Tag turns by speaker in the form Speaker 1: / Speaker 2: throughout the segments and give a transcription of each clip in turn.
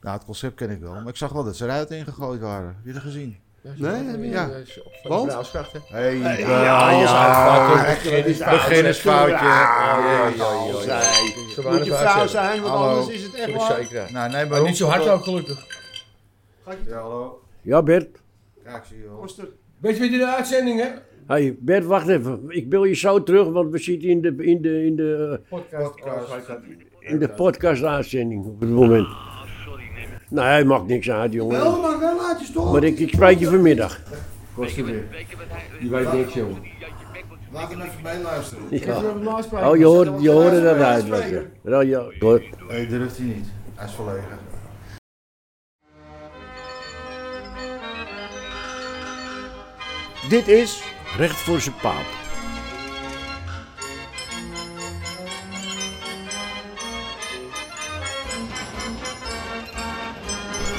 Speaker 1: Nou, het concept ken ik wel, maar ik zag wel dat ze eruit ingegooid waren. Heb je dat gezien?
Speaker 2: Nee, heb je- ja. Want?
Speaker 3: Want?
Speaker 1: Hey, eh, ja,
Speaker 3: ja, ja.
Speaker 1: Begin is foutje.
Speaker 3: Moet je vrouw zijn, want
Speaker 1: Hallo.
Speaker 3: anders is het echt waar.
Speaker 1: Nou, nee,
Speaker 4: Maar
Speaker 1: maar
Speaker 4: niet zo hard ook, gelukkig.
Speaker 1: Ja, hallo.
Speaker 5: Ja, Bert.
Speaker 1: Ja, ik zie je wel.
Speaker 3: Koster.
Speaker 4: Weet je wat in de uitzending, hè?
Speaker 5: Hey, Bert, wacht even. Ik bel je zo terug, want we zitten in de, in de, in de, eh, in de podcast-uitzending op het moment. Nou, hij maakt niks uit, jongen.
Speaker 3: Wel, maar wel uit je stoel.
Speaker 5: Maar ik, ik spreek je vanmiddag.
Speaker 2: Je weet niks, jongen.
Speaker 1: Laat hem even meeluisteren.
Speaker 5: Ja. Oh, je hoorde, je hoorde dat uit. was je. Ja, je hoort-
Speaker 1: Nee, durft hij niet. Hij is verlegen.
Speaker 5: Dit is Recht voor zijn paap.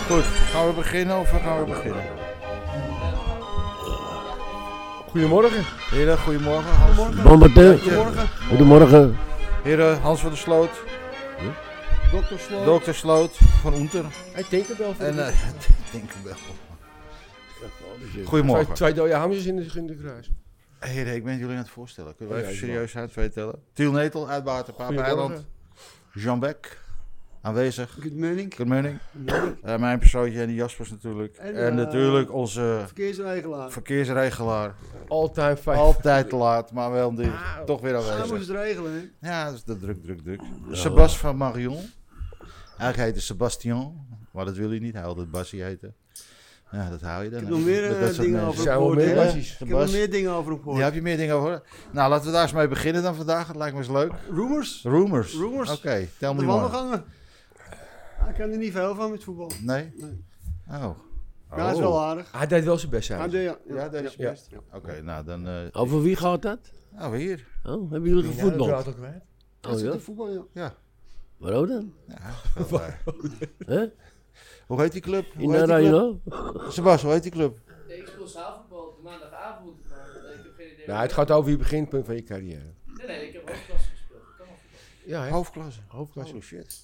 Speaker 1: Goed, gaan we beginnen of gaan we beginnen?
Speaker 4: Goedemorgen.
Speaker 1: Heren, goedemorgen. Hans.
Speaker 5: Momenteel.
Speaker 1: Goedemorgen.
Speaker 5: Goedemorgen.
Speaker 1: Heren, Hans van der Sloot.
Speaker 3: Dokter Sloot.
Speaker 1: Dokter Sloot van Oenter.
Speaker 3: Hij tekent wel voor
Speaker 1: En,
Speaker 3: de-
Speaker 1: eh, denk ik wel.
Speaker 4: Twee,
Speaker 1: Goedemorgen.
Speaker 4: twee dode hamsters in de, in de kruis.
Speaker 1: Heren, ik ben jullie aan het voorstellen. Kunnen we
Speaker 4: Oh,
Speaker 1: even
Speaker 4: ja, ik
Speaker 1: serieus uit twee tellen? Tiel Netel uit Waterpaap
Speaker 4: Goedemorgen.
Speaker 1: Eiland. Jean Beck aanwezig.
Speaker 3: Good morning.
Speaker 1: Kurt Munning. Eh, mijn persoontje en die Jaspers natuurlijk. En,
Speaker 3: En, eh,
Speaker 1: natuurlijk onze
Speaker 3: Verkeersregelaar.
Speaker 1: verkeersregelaar.
Speaker 4: All-time five.
Speaker 1: Altijd te laat, maar wel die,
Speaker 4: Ah.
Speaker 1: toch weer
Speaker 3: Hij moest
Speaker 1: aanwezig.
Speaker 3: het regelen, hè.
Speaker 1: Ja, dat is de druk, druk, druk. Sebas van Marion. Eigenlijk heette Sebastian, maar dat wil hij niet. Hij wilde het Bassie heten. Ja, dat hou je dan.
Speaker 3: Ik heb
Speaker 1: hè,
Speaker 3: nog meer
Speaker 1: met
Speaker 3: eh,
Speaker 1: dat soort
Speaker 3: dingen
Speaker 1: mensen.
Speaker 3: over
Speaker 4: Zijn
Speaker 3: hem
Speaker 4: we
Speaker 3: gehoord,
Speaker 4: meer
Speaker 3: hè.
Speaker 4: basis?
Speaker 3: Ik
Speaker 1: De
Speaker 3: heb nog
Speaker 1: Bas.
Speaker 3: meer dingen over hem
Speaker 1: Ja,
Speaker 3: gehoord.
Speaker 1: heb je meer dingen over? Nou, laten we daar eens mee beginnen dan vandaag. Dat lijkt me eens leuk.
Speaker 3: Rumors.
Speaker 1: Rumors.
Speaker 3: Rumors.
Speaker 1: Oké, tel me
Speaker 3: De
Speaker 1: more.
Speaker 3: wandelgangen. Hij kan er niet veel van met voetbal.
Speaker 1: Nee?
Speaker 3: Nee.
Speaker 1: Oh.
Speaker 3: Maar hij is wel aardig.
Speaker 4: Hij deed wel zijn best
Speaker 3: Hij
Speaker 4: aan.
Speaker 3: deed- ja, ja.
Speaker 1: Ja, deze is
Speaker 4: Ja.
Speaker 1: best. Oké, nou dan... eh,
Speaker 5: Over wie gaat dat?
Speaker 1: nou, hier.
Speaker 5: Oh, hebben jullie gevoetbald?
Speaker 3: Hij
Speaker 5: Oh
Speaker 3: zit
Speaker 5: ja?
Speaker 3: in voetbal, ja.
Speaker 5: Waarom dan?
Speaker 1: Wel, eh,
Speaker 5: Hè?
Speaker 1: Hoe heet die club?
Speaker 5: In
Speaker 1: Hoe
Speaker 5: de
Speaker 1: heet die club?
Speaker 5: arena?
Speaker 1: Sebas, hoe heet die club?
Speaker 6: Nee, ik speel zaalvoetbal de maandagavond, maar ik heb geen idee.
Speaker 4: Nou, het gaat over je beginpunt van je carrière.
Speaker 6: Nee, nee, ik heb ook klasse gespeeld. Ik kan wel
Speaker 4: Ja,
Speaker 6: voetballen.
Speaker 4: hè? Oh.
Speaker 1: Hoofdklasse.
Speaker 4: hoofdklasse.
Speaker 1: Holy shit.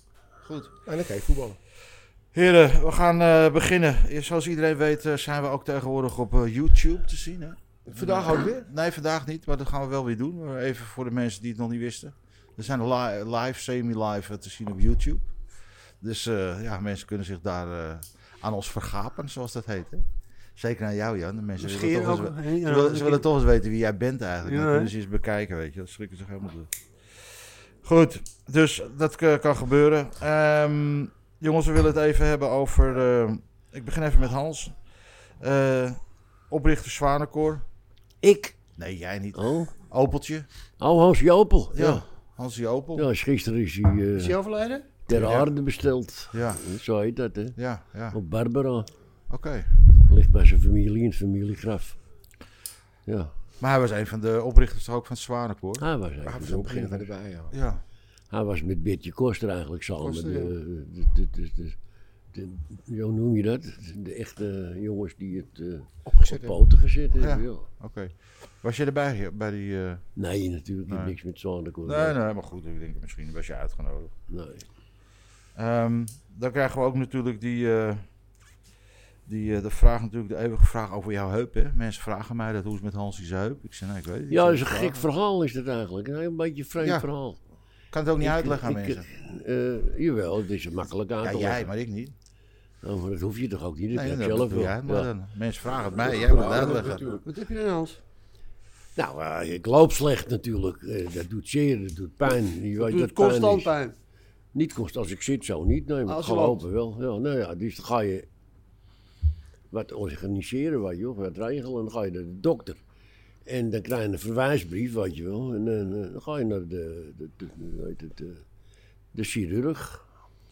Speaker 1: Goed.
Speaker 4: En dan kan je voetballen.
Speaker 1: Heren, we gaan eh, beginnen. Zoals iedereen weet eh, zijn we ook tegenwoordig op eh, YouTube te zien. Hè?
Speaker 4: Vandaag ook weer.
Speaker 1: Nee, vandaag niet, maar dat gaan we wel weer doen. Maar Even voor de mensen die het nog niet wisten. We zijn li- live, semi-live eh, te zien op YouTube. Dus eh, ja, mensen kunnen zich daar eh, aan ons vergapen, zoals dat heet. Hè? Zeker aan jou, Jan. De mensen willen
Speaker 3: Scheer
Speaker 1: toch
Speaker 3: ook.
Speaker 1: eens-
Speaker 3: hè, ja. dus
Speaker 1: Ze willen, ze willen toch eens weten wie jij bent eigenlijk.
Speaker 3: Ja,
Speaker 1: dan
Speaker 3: hè?
Speaker 1: kunnen ze eens bekijken, weet je. Dat schrikken ze zich helemaal door. Goed, dus dat k- kan gebeuren. Ehm, jongens, we willen het even hebben over... eh, ik begin even met Hans. Eh, oprichter Zwanenkoor.
Speaker 5: Ik.
Speaker 1: Nee, jij niet.
Speaker 5: Oh,
Speaker 1: Opeltje.
Speaker 5: oh Hans Jopel.
Speaker 1: Ja,
Speaker 5: Ja.
Speaker 1: Hans die Opel. Ja.
Speaker 5: Ja, is gisteren is hij eh,
Speaker 3: Is hij overleden?
Speaker 5: ter
Speaker 1: Ja.
Speaker 5: aarde besteld.
Speaker 1: Ja,
Speaker 5: Zo heet dat, hè?
Speaker 1: ja,
Speaker 5: Op Barbara.
Speaker 1: Oké.
Speaker 5: Ligt bij zijn familie in het familiegraf. Ja,
Speaker 1: Maar hij was een van de oprichters toch ook van het Zwanenkoor.
Speaker 5: hij was
Speaker 4: Maar
Speaker 5: eigenlijk
Speaker 4: we
Speaker 5: de
Speaker 4: zijn beginnen
Speaker 5: opginner.
Speaker 4: van erbij, ja.
Speaker 1: Ja.
Speaker 5: Hij was met Bertje Koster eigenlijk samen.
Speaker 3: Koster,
Speaker 5: de, de, de, de, de- de- de- hoe noem je dat? De echte jongens die het eh,
Speaker 4: Opgezet.
Speaker 5: op poten gezet hebben.
Speaker 1: Ja.
Speaker 5: Ja.
Speaker 1: Oké. Was je erbij bij die... eh,
Speaker 5: Nee, natuurlijk. Ik heb
Speaker 1: Nee.
Speaker 5: niks met Zwanenkoor.
Speaker 1: Nee, nee, maar goed. Ik denk misschien was je uitgenodigd.
Speaker 5: nee.
Speaker 1: Ehm, dan krijgen we ook natuurlijk die, eh, die eh, de vraag, natuurlijk de eeuwige vraag over jouw heup. Hè? Mensen vragen mij dat hoe is het met Hansi's heup. Ik zeg, nee, ik weet het niet.
Speaker 5: Ja, dat is een
Speaker 1: Ik zeg,
Speaker 5: gek
Speaker 1: "Ah,
Speaker 5: verhaal is dat eigenlijk. Een heel beetje een vreemd
Speaker 1: Ja.
Speaker 5: verhaal.
Speaker 1: Ik kan het ook niet
Speaker 5: Ik-
Speaker 1: uitleggen aan
Speaker 5: ik-
Speaker 1: mensen.
Speaker 5: eh, jawel, het is makkelijk aan
Speaker 1: Ja,
Speaker 5: te
Speaker 1: jij,
Speaker 5: leggen.
Speaker 1: maar ik niet.
Speaker 5: Oh, maar dat hoef je toch ook niet? Dat
Speaker 1: Nee,
Speaker 5: heb
Speaker 1: dat
Speaker 5: ik zelf
Speaker 1: doe
Speaker 5: wel.
Speaker 1: jij, maar
Speaker 5: Ja.
Speaker 1: dan, mensen vragen het mij, jij moet het uitleggen.
Speaker 4: natuurlijk.
Speaker 3: Wat heb je dan, Hans?
Speaker 5: Nou, eh, ik loop slecht natuurlijk. Eh, dat doet zeer, dat doet pijn. Je weet
Speaker 3: Doet
Speaker 5: dat
Speaker 3: het
Speaker 5: pijn
Speaker 3: constant
Speaker 5: is.
Speaker 3: pijn.
Speaker 5: Niet kost als ik zit zo niet, nee, maar
Speaker 3: Als
Speaker 5: gewoon
Speaker 3: je loopt.
Speaker 5: lopen wel. Ja, nou ja, dus dan ga je wat organiseren, weet je wel, wat regelen. Dan ga je naar de dokter. En dan krijg je een verwijsbrief, weet je wel. En dan, eh, dan ga je naar de, de, de, hoe heet het, eh, de chirurg,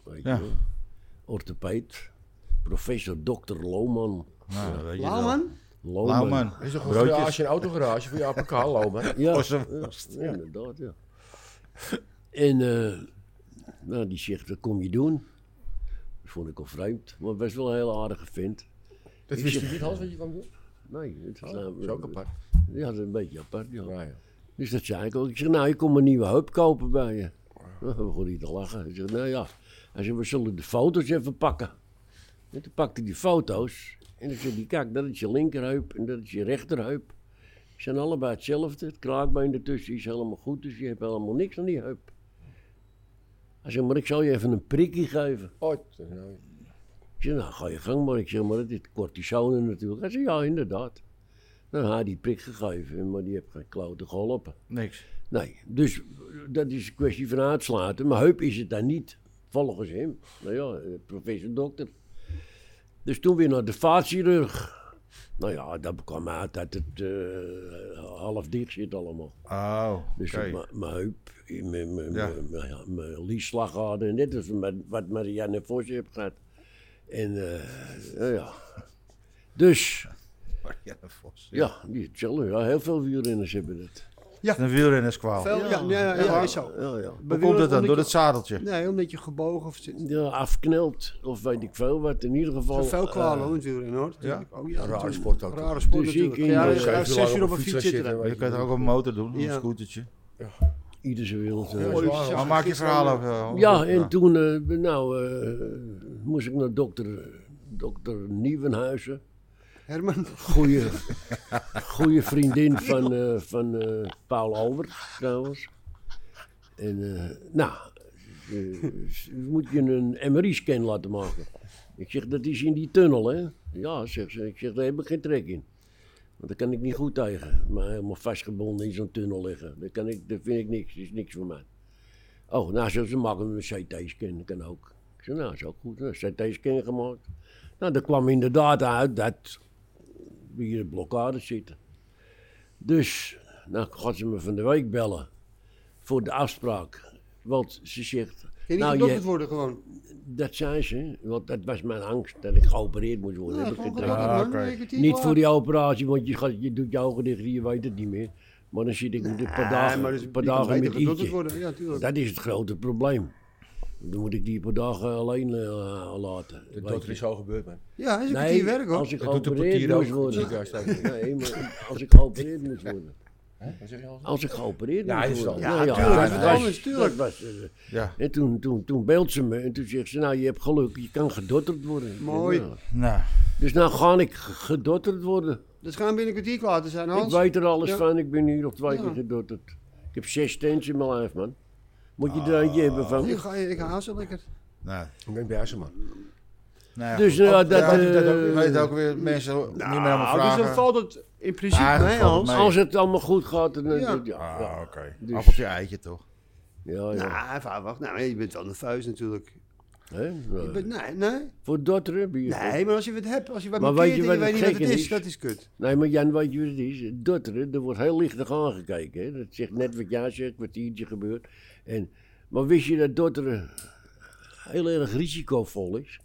Speaker 5: weet je
Speaker 1: Ja.
Speaker 5: wel. Orthopeed, professor dokter Lohman.
Speaker 1: Nou, dat weet je wel.
Speaker 3: Lauwman?
Speaker 5: Lohman.
Speaker 1: Lauwman.
Speaker 4: Is toch een
Speaker 1: Broodjes.
Speaker 4: garage, een autogarage voor je APK lopen?
Speaker 5: Ja,
Speaker 1: Kost hem.
Speaker 5: ja, ja, inderdaad, ja. En eh, nou, die zegt, dat kom je doen. Dat vond ik al vreemd, maar best wel een heel aardige vent.
Speaker 4: Dat wist je niet, Hans, wat je kwam doen?
Speaker 5: Nee, het is,
Speaker 4: Dat
Speaker 5: nou,
Speaker 4: Oh, is ook apart.
Speaker 5: Ja, dat is een beetje apart, ja.
Speaker 4: Ja, ja.
Speaker 5: Dus dat zei ik ook. Ik zeg, nou, ik kom een nieuwe heup kopen bij je. Nou, we begon niet te lachen. Hij zegt, nou ja. Hij zegt, we zullen de foto's even pakken. En toen pakte hij die foto's. En dan zei hij, kijk, dat is je linkerheup en dat is je rechterheup. Ze zijn allebei hetzelfde. Het kraakbeen ertussen is helemaal goed, dus je hebt helemaal niks aan die heup. Hij zei, maar ik zal je even een prikkie geven.
Speaker 4: Oh, t- nou,
Speaker 5: Ik zei, nou ga je gang maar. Ik zeg, maar dit is cortisone natuurlijk. Hij zei, ja, inderdaad. Nou, hij had die prik gegeven, maar die heeft geen klote geholpen.
Speaker 1: Niks.
Speaker 5: Nee, dus dat is een kwestie van uitsluiten. Maar heup is het dan niet, volgens hem. Nou ja, eh, professor dokter. Dus toen weer naar de vaatchirurg. Nou ja, dat kwam uit dat het eh, half dicht zit allemaal.
Speaker 1: Oh, oké.
Speaker 5: Dus mijn- mijn heup, eh, mijn- mijn-
Speaker 1: Ja.
Speaker 5: mijn- mijn- ja, mijn liesslagader. En dit is wat- wat Marianne Vos heeft gehad. En eh, nou ja. Dus,
Speaker 1: Marianne Vos.
Speaker 5: ja, die hetzelfde. Ja, heel veel wielrenners hebben dat.
Speaker 1: Het is Een wielrennerskwaal.
Speaker 3: Veel, ja, ja, ja, ja, is zo.
Speaker 5: Ja, ja.
Speaker 3: Bij
Speaker 1: Hoe komt
Speaker 3: wielren-
Speaker 1: dat dan?
Speaker 3: omdat
Speaker 1: Door
Speaker 3: je-
Speaker 1: het zadeltje?
Speaker 3: Nee, omdat je gebogen of zit.
Speaker 5: ja, afknelt of weet ik veel wat. In ieder
Speaker 3: Er
Speaker 5: geval.
Speaker 3: zijn veel
Speaker 5: eh,
Speaker 3: kwalen hoor, natuurlijk. Hoor.
Speaker 1: ja.
Speaker 3: Oh, ja,
Speaker 4: Rare
Speaker 3: natuurlijk.
Speaker 4: sport ook, toch?
Speaker 3: Rare sport
Speaker 5: Dus ik
Speaker 3: natuurlijk.
Speaker 5: in
Speaker 3: ja,
Speaker 5: de
Speaker 3: je
Speaker 4: zeven
Speaker 3: gaat zes
Speaker 4: lang
Speaker 3: uur op een
Speaker 4: fiets
Speaker 3: fiets
Speaker 4: gaan
Speaker 3: zitten.
Speaker 4: zitten,
Speaker 1: Je kunt ook
Speaker 4: wel.
Speaker 1: op een motor doen, of een
Speaker 3: Ja.
Speaker 1: scootertje.
Speaker 5: ieder zijn wereld. eh.
Speaker 4: Ja,
Speaker 3: zes
Speaker 1: Maar maak je
Speaker 3: fiets
Speaker 1: verhaal
Speaker 3: lang.
Speaker 1: over.
Speaker 5: ja, en toen eh, nou, eh, moest ik naar dokter, dokter Nieuwenhuizen.
Speaker 3: Herman,
Speaker 5: Goeie, goeie vriendin van, eh, van eh, Paul Albert, trouwens. En eh, nou, eh, moet je een MRI-scan laten maken. Ik zeg, dat is in die tunnel, hè? Ja, zegt ze. Ik zeg, daar heb ik geen trek in. Want daar kan ik niet goed tegen. Maar helemaal vastgebonden in zo'n tunnel liggen. Daar, kan ik, daar vind ik niks. Dat is niks voor mij. Oh, nou, zegt ze maken we een CT-scan. Dat kan ook. Ik zeg, nou, is ook goed. Nou, CT-scan gemaakt. Nou, er kwam inderdaad uit dat we hier in blokkade zitten. Dus, nou gaat ze me van de week bellen voor de afspraak. Want ze zegt,
Speaker 3: kan je niet
Speaker 5: nou,
Speaker 3: gedokterd
Speaker 5: je-
Speaker 3: worden gewoon?
Speaker 5: dat zei ze, want dat was mijn angst dat ik geopereerd moest worden.
Speaker 3: Ja,
Speaker 5: Heb ik
Speaker 3: gewoon
Speaker 5: geen
Speaker 3: gedokterd,
Speaker 1: Ah,
Speaker 3: man.
Speaker 1: oké.
Speaker 3: Een kwartier
Speaker 5: niet
Speaker 3: klaar.
Speaker 5: voor die operatie, want je, gaat, je doet je ogen dicht en je weet het niet meer. Maar dan zit ik met een paar dagen,
Speaker 3: maar dus
Speaker 5: een paar
Speaker 3: je kan
Speaker 5: dagen
Speaker 3: beter
Speaker 5: met
Speaker 3: gedokterd
Speaker 5: ietsje.
Speaker 3: worden. Ja, tuurlijk.
Speaker 5: Dat is het grote probleem. Dan moet ik die paar dagen alleen eh, laten.
Speaker 4: de
Speaker 5: weet
Speaker 4: dokter
Speaker 5: je.
Speaker 4: is zo gebeurd, man.
Speaker 3: Ja, is een kwartier werk hoor.
Speaker 5: als ik
Speaker 4: Dat doet de
Speaker 5: geopereerd
Speaker 4: portier ook.
Speaker 5: moest worden.
Speaker 4: Ja, staat er.
Speaker 5: Nee, maar als ik geopereerd moest worden.
Speaker 4: Wat zeg je al?
Speaker 5: Als ik geopereerd
Speaker 4: Ja,
Speaker 5: moest
Speaker 4: is
Speaker 5: worden.
Speaker 4: wel.
Speaker 5: Nou
Speaker 3: Ja, tuurlijk,
Speaker 5: dat
Speaker 3: dat is
Speaker 5: was-
Speaker 3: anders, tuurlijk.
Speaker 5: dat was, eh,
Speaker 1: Ja,
Speaker 5: en toen, toen, toen belt ze me en toen zegt ze, nou je hebt geluk, je kan gedotterd worden.
Speaker 3: Mooi.
Speaker 5: Ja.
Speaker 1: nou.
Speaker 5: Dus nou ga ik ge- gedotterd worden.
Speaker 3: Dat gaan binnen een kwartier klaar te zijn,
Speaker 5: Ik
Speaker 3: Hans.
Speaker 5: weet er alles
Speaker 3: Ja.
Speaker 5: van, ik ben hier op twee
Speaker 3: Ja.
Speaker 5: keer gedotterd. Ik heb zes tents in mijn lijf man. Moet je er eentje hebben van?
Speaker 3: Ik, ga, ik haal ze lekker.
Speaker 1: nou.
Speaker 4: Ah. Ik ben bij ze, man.
Speaker 1: Nou ja,
Speaker 5: Dus
Speaker 1: goed.
Speaker 5: nou,
Speaker 1: Ook-
Speaker 5: dat,
Speaker 1: ja, je dat
Speaker 5: eh,
Speaker 1: ook, weet ook weer mensen niet meer aan me
Speaker 3: dus
Speaker 1: vragen.
Speaker 3: dan valt het in principe
Speaker 1: Ah, dat
Speaker 3: mee,
Speaker 1: valt
Speaker 3: Hans.
Speaker 1: mee.
Speaker 5: Als het allemaal goed gaat, dan... dan-
Speaker 3: Ja.
Speaker 5: Ja, ja,
Speaker 1: Ah,
Speaker 5: ja.
Speaker 1: oké.
Speaker 5: Dus-
Speaker 1: Appeltje eitje toch?
Speaker 5: ja,
Speaker 3: Nou, even wacht. Nou, je bent wel nerveus natuurlijk.
Speaker 5: Hè? Nou,
Speaker 3: Je bent- nee, nee.
Speaker 5: Voor dotteren? ben je-
Speaker 3: Nee, maar als je wat hebt, als je wat
Speaker 5: Maar
Speaker 3: markeert
Speaker 5: weet je
Speaker 3: en
Speaker 5: wat
Speaker 3: je
Speaker 5: het
Speaker 3: weet niet wat
Speaker 5: gekke
Speaker 3: het is,
Speaker 5: is?
Speaker 3: dat is kut.
Speaker 5: Nee, maar Jan, weet je wat het is? Dotteren, er wordt heel lichtig aangekeken. Hè? Dat zegt net wat jij zegt, kwartiertje gebeurt. En, maar wist je dat dotteren heel erg risicovol is?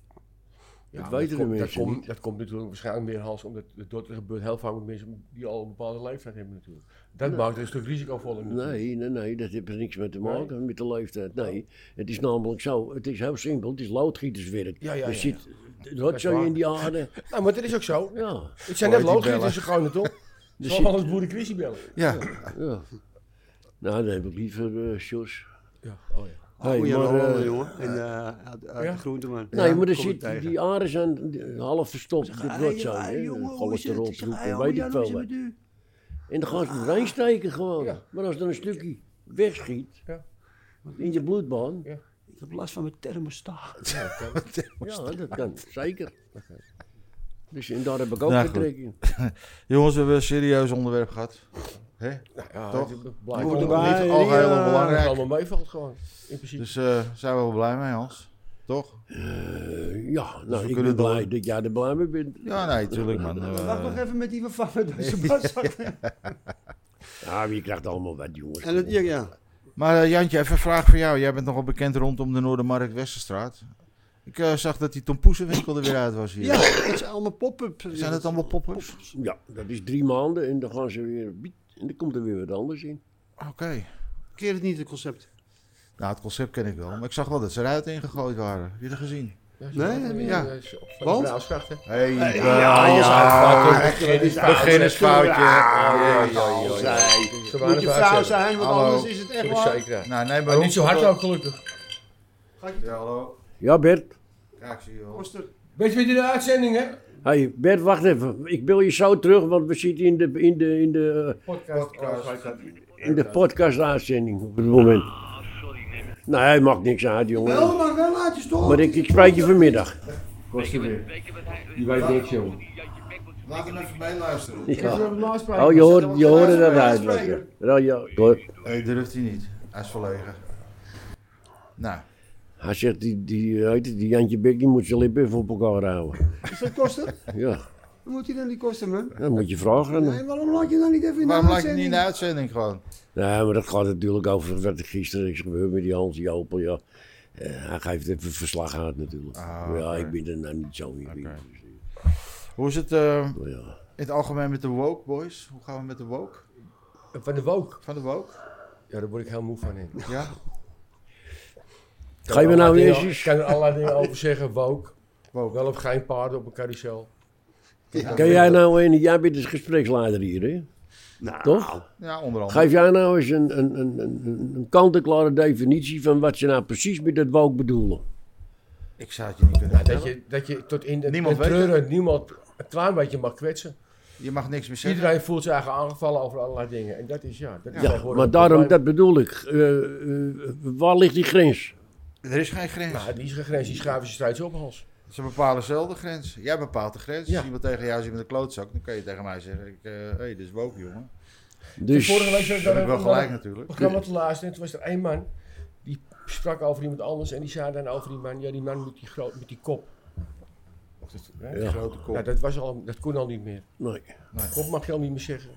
Speaker 5: dat weten de
Speaker 4: komt- dat
Speaker 5: mensen
Speaker 4: komt-
Speaker 5: niet.
Speaker 4: Dat komt natuurlijk waarschijnlijk meer, Hans, omdat het door gebeurt heel vaak met mensen die al een bepaalde leeftijd hebben natuurlijk. Dat maakt het een stuk risicovoller natuurlijk.
Speaker 5: Nee, nee, nee, dat heeft er niks mee te
Speaker 4: Nee?
Speaker 5: maken, met de leeftijd. Nee, het is namelijk zo, het is heel simpel, het is loodgieterswerk.
Speaker 4: Ja, ja,
Speaker 5: er
Speaker 4: ja,
Speaker 5: zit
Speaker 4: Dat is
Speaker 5: rotzooi
Speaker 4: waar.
Speaker 5: in die aarde.
Speaker 4: Nou, maar dat is ook zo. Het
Speaker 5: Ja,
Speaker 4: zijn
Speaker 1: Hoe
Speaker 4: net
Speaker 1: heet die
Speaker 4: loodgieters, ze gaan het op.
Speaker 5: er
Speaker 4: Zal
Speaker 5: zit,
Speaker 4: alles boeren Chrissy bellen.
Speaker 1: Ja.
Speaker 5: ja. Nou, dat heb ik liever, eh Jos.
Speaker 4: Ja, oh ja.
Speaker 5: Hey,
Speaker 3: Goeie
Speaker 5: maar,
Speaker 3: rollen,
Speaker 5: eh,
Speaker 3: jongen. En eh uit, uit
Speaker 4: ja.
Speaker 3: de groenteman.
Speaker 5: Nee, maar er
Speaker 3: kom ik
Speaker 5: zit,
Speaker 3: tegen.
Speaker 5: die aren zijn eh, half verstopt. Dit wordt zo.
Speaker 3: Hey,
Speaker 5: hè, eh,
Speaker 3: jongen, hoe is het?
Speaker 5: Cholesterol,
Speaker 3: Ik zeg, ah, hey,
Speaker 5: troepen,
Speaker 3: hoe
Speaker 5: weet
Speaker 3: Jan,
Speaker 5: ik
Speaker 3: hoe is
Speaker 5: veel
Speaker 3: het
Speaker 5: wat.
Speaker 3: nou met u?
Speaker 5: En dan gaan ze het erin steken gewoon.
Speaker 4: Ja.
Speaker 5: Maar als er een stukje wegschiet,
Speaker 4: Ja.
Speaker 5: in je bloedbaan,
Speaker 4: Ja.
Speaker 3: Ik heb last van mijn thermostaat.
Speaker 5: ja, dat kan. Zeker. Dus en daar heb ik ook
Speaker 1: Nou,
Speaker 5: geen
Speaker 1: goed.
Speaker 5: trek in.
Speaker 1: Jongens, we hebben een serieus onderwerp gehad. Hè?
Speaker 4: ja
Speaker 1: Toch?
Speaker 4: Blijkt
Speaker 3: Moet
Speaker 4: wel
Speaker 3: erbij.
Speaker 4: niet
Speaker 1: Niet
Speaker 3: die,
Speaker 1: algeheel
Speaker 3: eh,
Speaker 4: dat het
Speaker 1: belangrijk.
Speaker 4: allemaal meevalt gewoon. In principe.
Speaker 1: Dus eh, zijn we wel blij mee, Hans? Toch?
Speaker 5: Eh, ja, nou, ik
Speaker 1: Dus kunnen
Speaker 5: ben
Speaker 1: door.
Speaker 5: blij dat jij er blij mee bent.
Speaker 1: Ja, nee, tuurlijk man. Eh,
Speaker 3: Wacht nog even met die vervangen door zijn baszak.
Speaker 5: Ja, maar je krijgt allemaal wat, jongens.
Speaker 3: En het, ja, ja.
Speaker 1: Maar eh, Jantje, even een vraag voor jou. Jij bent nogal bekend rondom de Noordermarkt Westerstraat. Ik eh, zag dat die tompoezenwinkel er weer uit was hier.
Speaker 3: ja, het zijn allemaal pop-ups.
Speaker 1: Zijn dat allemaal pop-ups?
Speaker 5: Ja, dat is drie maanden en dan gaan ze weer... biet, En dan komt er weer wat anders in.
Speaker 1: Oké.
Speaker 3: Ik keer het niet, het concept.
Speaker 1: Nou, het concept ken ik wel. Maar ik zag wel dat ze eruit ingegooid waren. Heb je dat gezien?
Speaker 3: Nee, ja.
Speaker 4: eh,
Speaker 3: Want?
Speaker 4: Want? Braadskrachten.
Speaker 1: Hey, eh, ja,
Speaker 4: Beginners
Speaker 1: Beginnersfoutje.
Speaker 4: Ze
Speaker 3: Moet
Speaker 4: waren
Speaker 3: je
Speaker 4: er
Speaker 3: vrouw
Speaker 4: vijf,
Speaker 3: zijn, want
Speaker 1: Hallo.
Speaker 3: anders is het echt
Speaker 4: zeven.
Speaker 3: waar.
Speaker 4: Zeker. ja.
Speaker 1: Nou, nee, maar
Speaker 4: Maar niet zo hard ook gelukkig.
Speaker 1: Ja, hallo.
Speaker 5: Ja, Bert.
Speaker 1: Kijk, Ja, ik zie je wel.
Speaker 3: Koster.
Speaker 4: Weet je wat je de uitzending hè?
Speaker 5: Hey Bert, wacht even. Ik bel je zo terug, want we zitten in de, in de, in de,
Speaker 4: Podcast.
Speaker 5: eh, in de podcast-uitzending op het moment.
Speaker 1: Ah,
Speaker 5: Nee, hij maakt niks uit, jongen.
Speaker 3: Wel, maar wel uit je stoel.
Speaker 5: Maar ik, ik spreek je vanmiddag.
Speaker 2: Kosten weer. Die wij niks, jongen.
Speaker 1: Laat hem even mee luisteren.
Speaker 5: Ja.
Speaker 6: Oh,
Speaker 5: Oh, je hoort, je hoorde dat uit. wat je- Ja, ja, hoor.
Speaker 1: Nee, durft hij niet. Hij is verlegen. Nou,
Speaker 5: Hij zegt, die, die, hoe heet het, die Jantje Bek die moet zijn lippen even op elkaar houden.
Speaker 3: Is dat kosten?
Speaker 5: Ja,
Speaker 3: Hoe moet hij dan die kosten, man?
Speaker 5: dan moet je vragen. aan hem.
Speaker 3: Nee, waarom laat je dan niet even in de
Speaker 1: waarom laat je het niet in de
Speaker 3: uitzending?
Speaker 1: uitzending gewoon?
Speaker 5: Nee, maar dat gaat natuurlijk over wat er gisteren is gebeurd met die Hans Jopel. Ja. Eh, hij geeft even verslag uit natuurlijk.
Speaker 1: Ah,
Speaker 5: Maar ja,
Speaker 1: oké.
Speaker 5: ik ben er nou niet zo in.
Speaker 1: Hoe is het eh,
Speaker 5: Maar ja.
Speaker 1: in het algemeen met de woke, boys? Hoe gaan we met de woke?
Speaker 4: Van de Wook.
Speaker 1: Van de woke?
Speaker 4: Ja, daar word ik heel moe van in.
Speaker 1: Ja?
Speaker 5: Ga je me nou
Speaker 4: Dingen-
Speaker 5: eens eens-
Speaker 4: Ik kan er allerlei dingen over zeggen, Wook.
Speaker 1: Woke.
Speaker 4: Wel of geen paarden op een carousel.
Speaker 5: Kan jij nou een, jij bent dus gespreksleider hier, hè?
Speaker 3: Nou,
Speaker 5: Toch?
Speaker 1: Ja, onder andere.
Speaker 5: Geef jij nou eens een, een, een, een, een kant-en-klare definitie van wat ze nou precies met dat woke bedoelen.
Speaker 1: Ik zou het je niet kunnen
Speaker 4: Nou, dat,
Speaker 1: vertellen. Je...
Speaker 4: je, dat je tot in de
Speaker 1: Niemand
Speaker 4: niemand
Speaker 1: weet
Speaker 4: treuren niemand een klein beetje mag kwetsen.
Speaker 1: mag niks meer zeggen.
Speaker 4: Iedereen voelt zich eigenlijk aangevallen over allerlei dingen. En dat is ja. Dat is
Speaker 5: Ja,
Speaker 4: tegenwoordig
Speaker 5: maar
Speaker 4: een
Speaker 5: daarom,
Speaker 4: probleem.
Speaker 5: dat bedoel ik. Eh, eh, waar ligt die grens?
Speaker 1: Er is geen grens.
Speaker 4: Nou, die is een grens, die schuiven ze steeds op, Hans.
Speaker 1: Ze bepalen zelf de grens. Jij bepaalt de grens.
Speaker 4: Ja.
Speaker 1: Als iemand tegen jou zit met een klootzak, dan kan je tegen mij zeggen: ik, eh, hey, dit is woke, jongen.
Speaker 5: Dus,
Speaker 4: Vorige week zat ik
Speaker 1: Dan
Speaker 4: daar
Speaker 1: heb ik wel
Speaker 4: een-
Speaker 1: gelijk,
Speaker 4: een
Speaker 1: natuurlijk.
Speaker 4: programma te luisteren. En toen was er één man die sprak over iemand anders. En die zei dan over die man: ja, die man met die, groot, met die kop. Of dat- hè?
Speaker 1: Die grote kop.
Speaker 4: Ja, dat, was al, dat kon al niet meer.
Speaker 5: nee.
Speaker 4: Kop mag je al niet meer zeggen.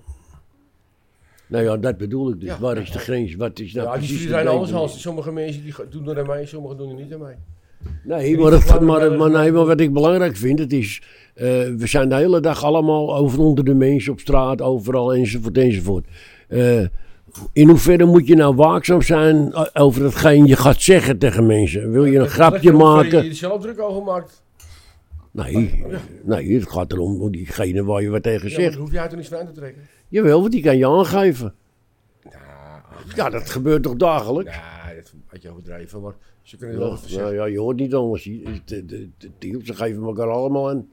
Speaker 5: nou ja, dat bedoel ik dus.
Speaker 4: Ja.
Speaker 5: Waar is de grens? Wat is nou
Speaker 4: ja, die
Speaker 5: precies de
Speaker 4: iedereen anders,
Speaker 5: definitie?
Speaker 4: Hans. Sommige mensen die gaan- doen er aan mee, sommigen doen er niet aan mee.
Speaker 5: Nee, maar, het, maar, maar, maar nee, maar wat ik belangrijk vind, het is, eh, we zijn de hele dag allemaal over onder de mensen op straat, overal enzovoort enzovoort. Eh, in hoeverre moet je nou waakzaam zijn eh, over hetgeen je gaat zeggen tegen mensen? Wil je een
Speaker 4: Dat- dat
Speaker 5: grapje
Speaker 4: ligt er ook waar
Speaker 5: maken?
Speaker 4: Je jezelf druk over maakt.
Speaker 5: Nee, nee, het gaat erom om diegene waar je wat tegen
Speaker 4: Ja, maar
Speaker 5: zegt.
Speaker 4: daar hoef jij er niks van aan te trekken.
Speaker 5: Jawel, want die kan je aangeven.
Speaker 4: Nou,
Speaker 5: Ja, dat gebeurt toch dagelijks?
Speaker 4: nou, dat had je overdreven, maar ze kunnen
Speaker 5: Ja,
Speaker 4: er wel wat van
Speaker 5: nou
Speaker 4: zeggen.
Speaker 5: ja, je hoort niet anders. Je- het- het- het- het- het- Ze geven elkaar allemaal een.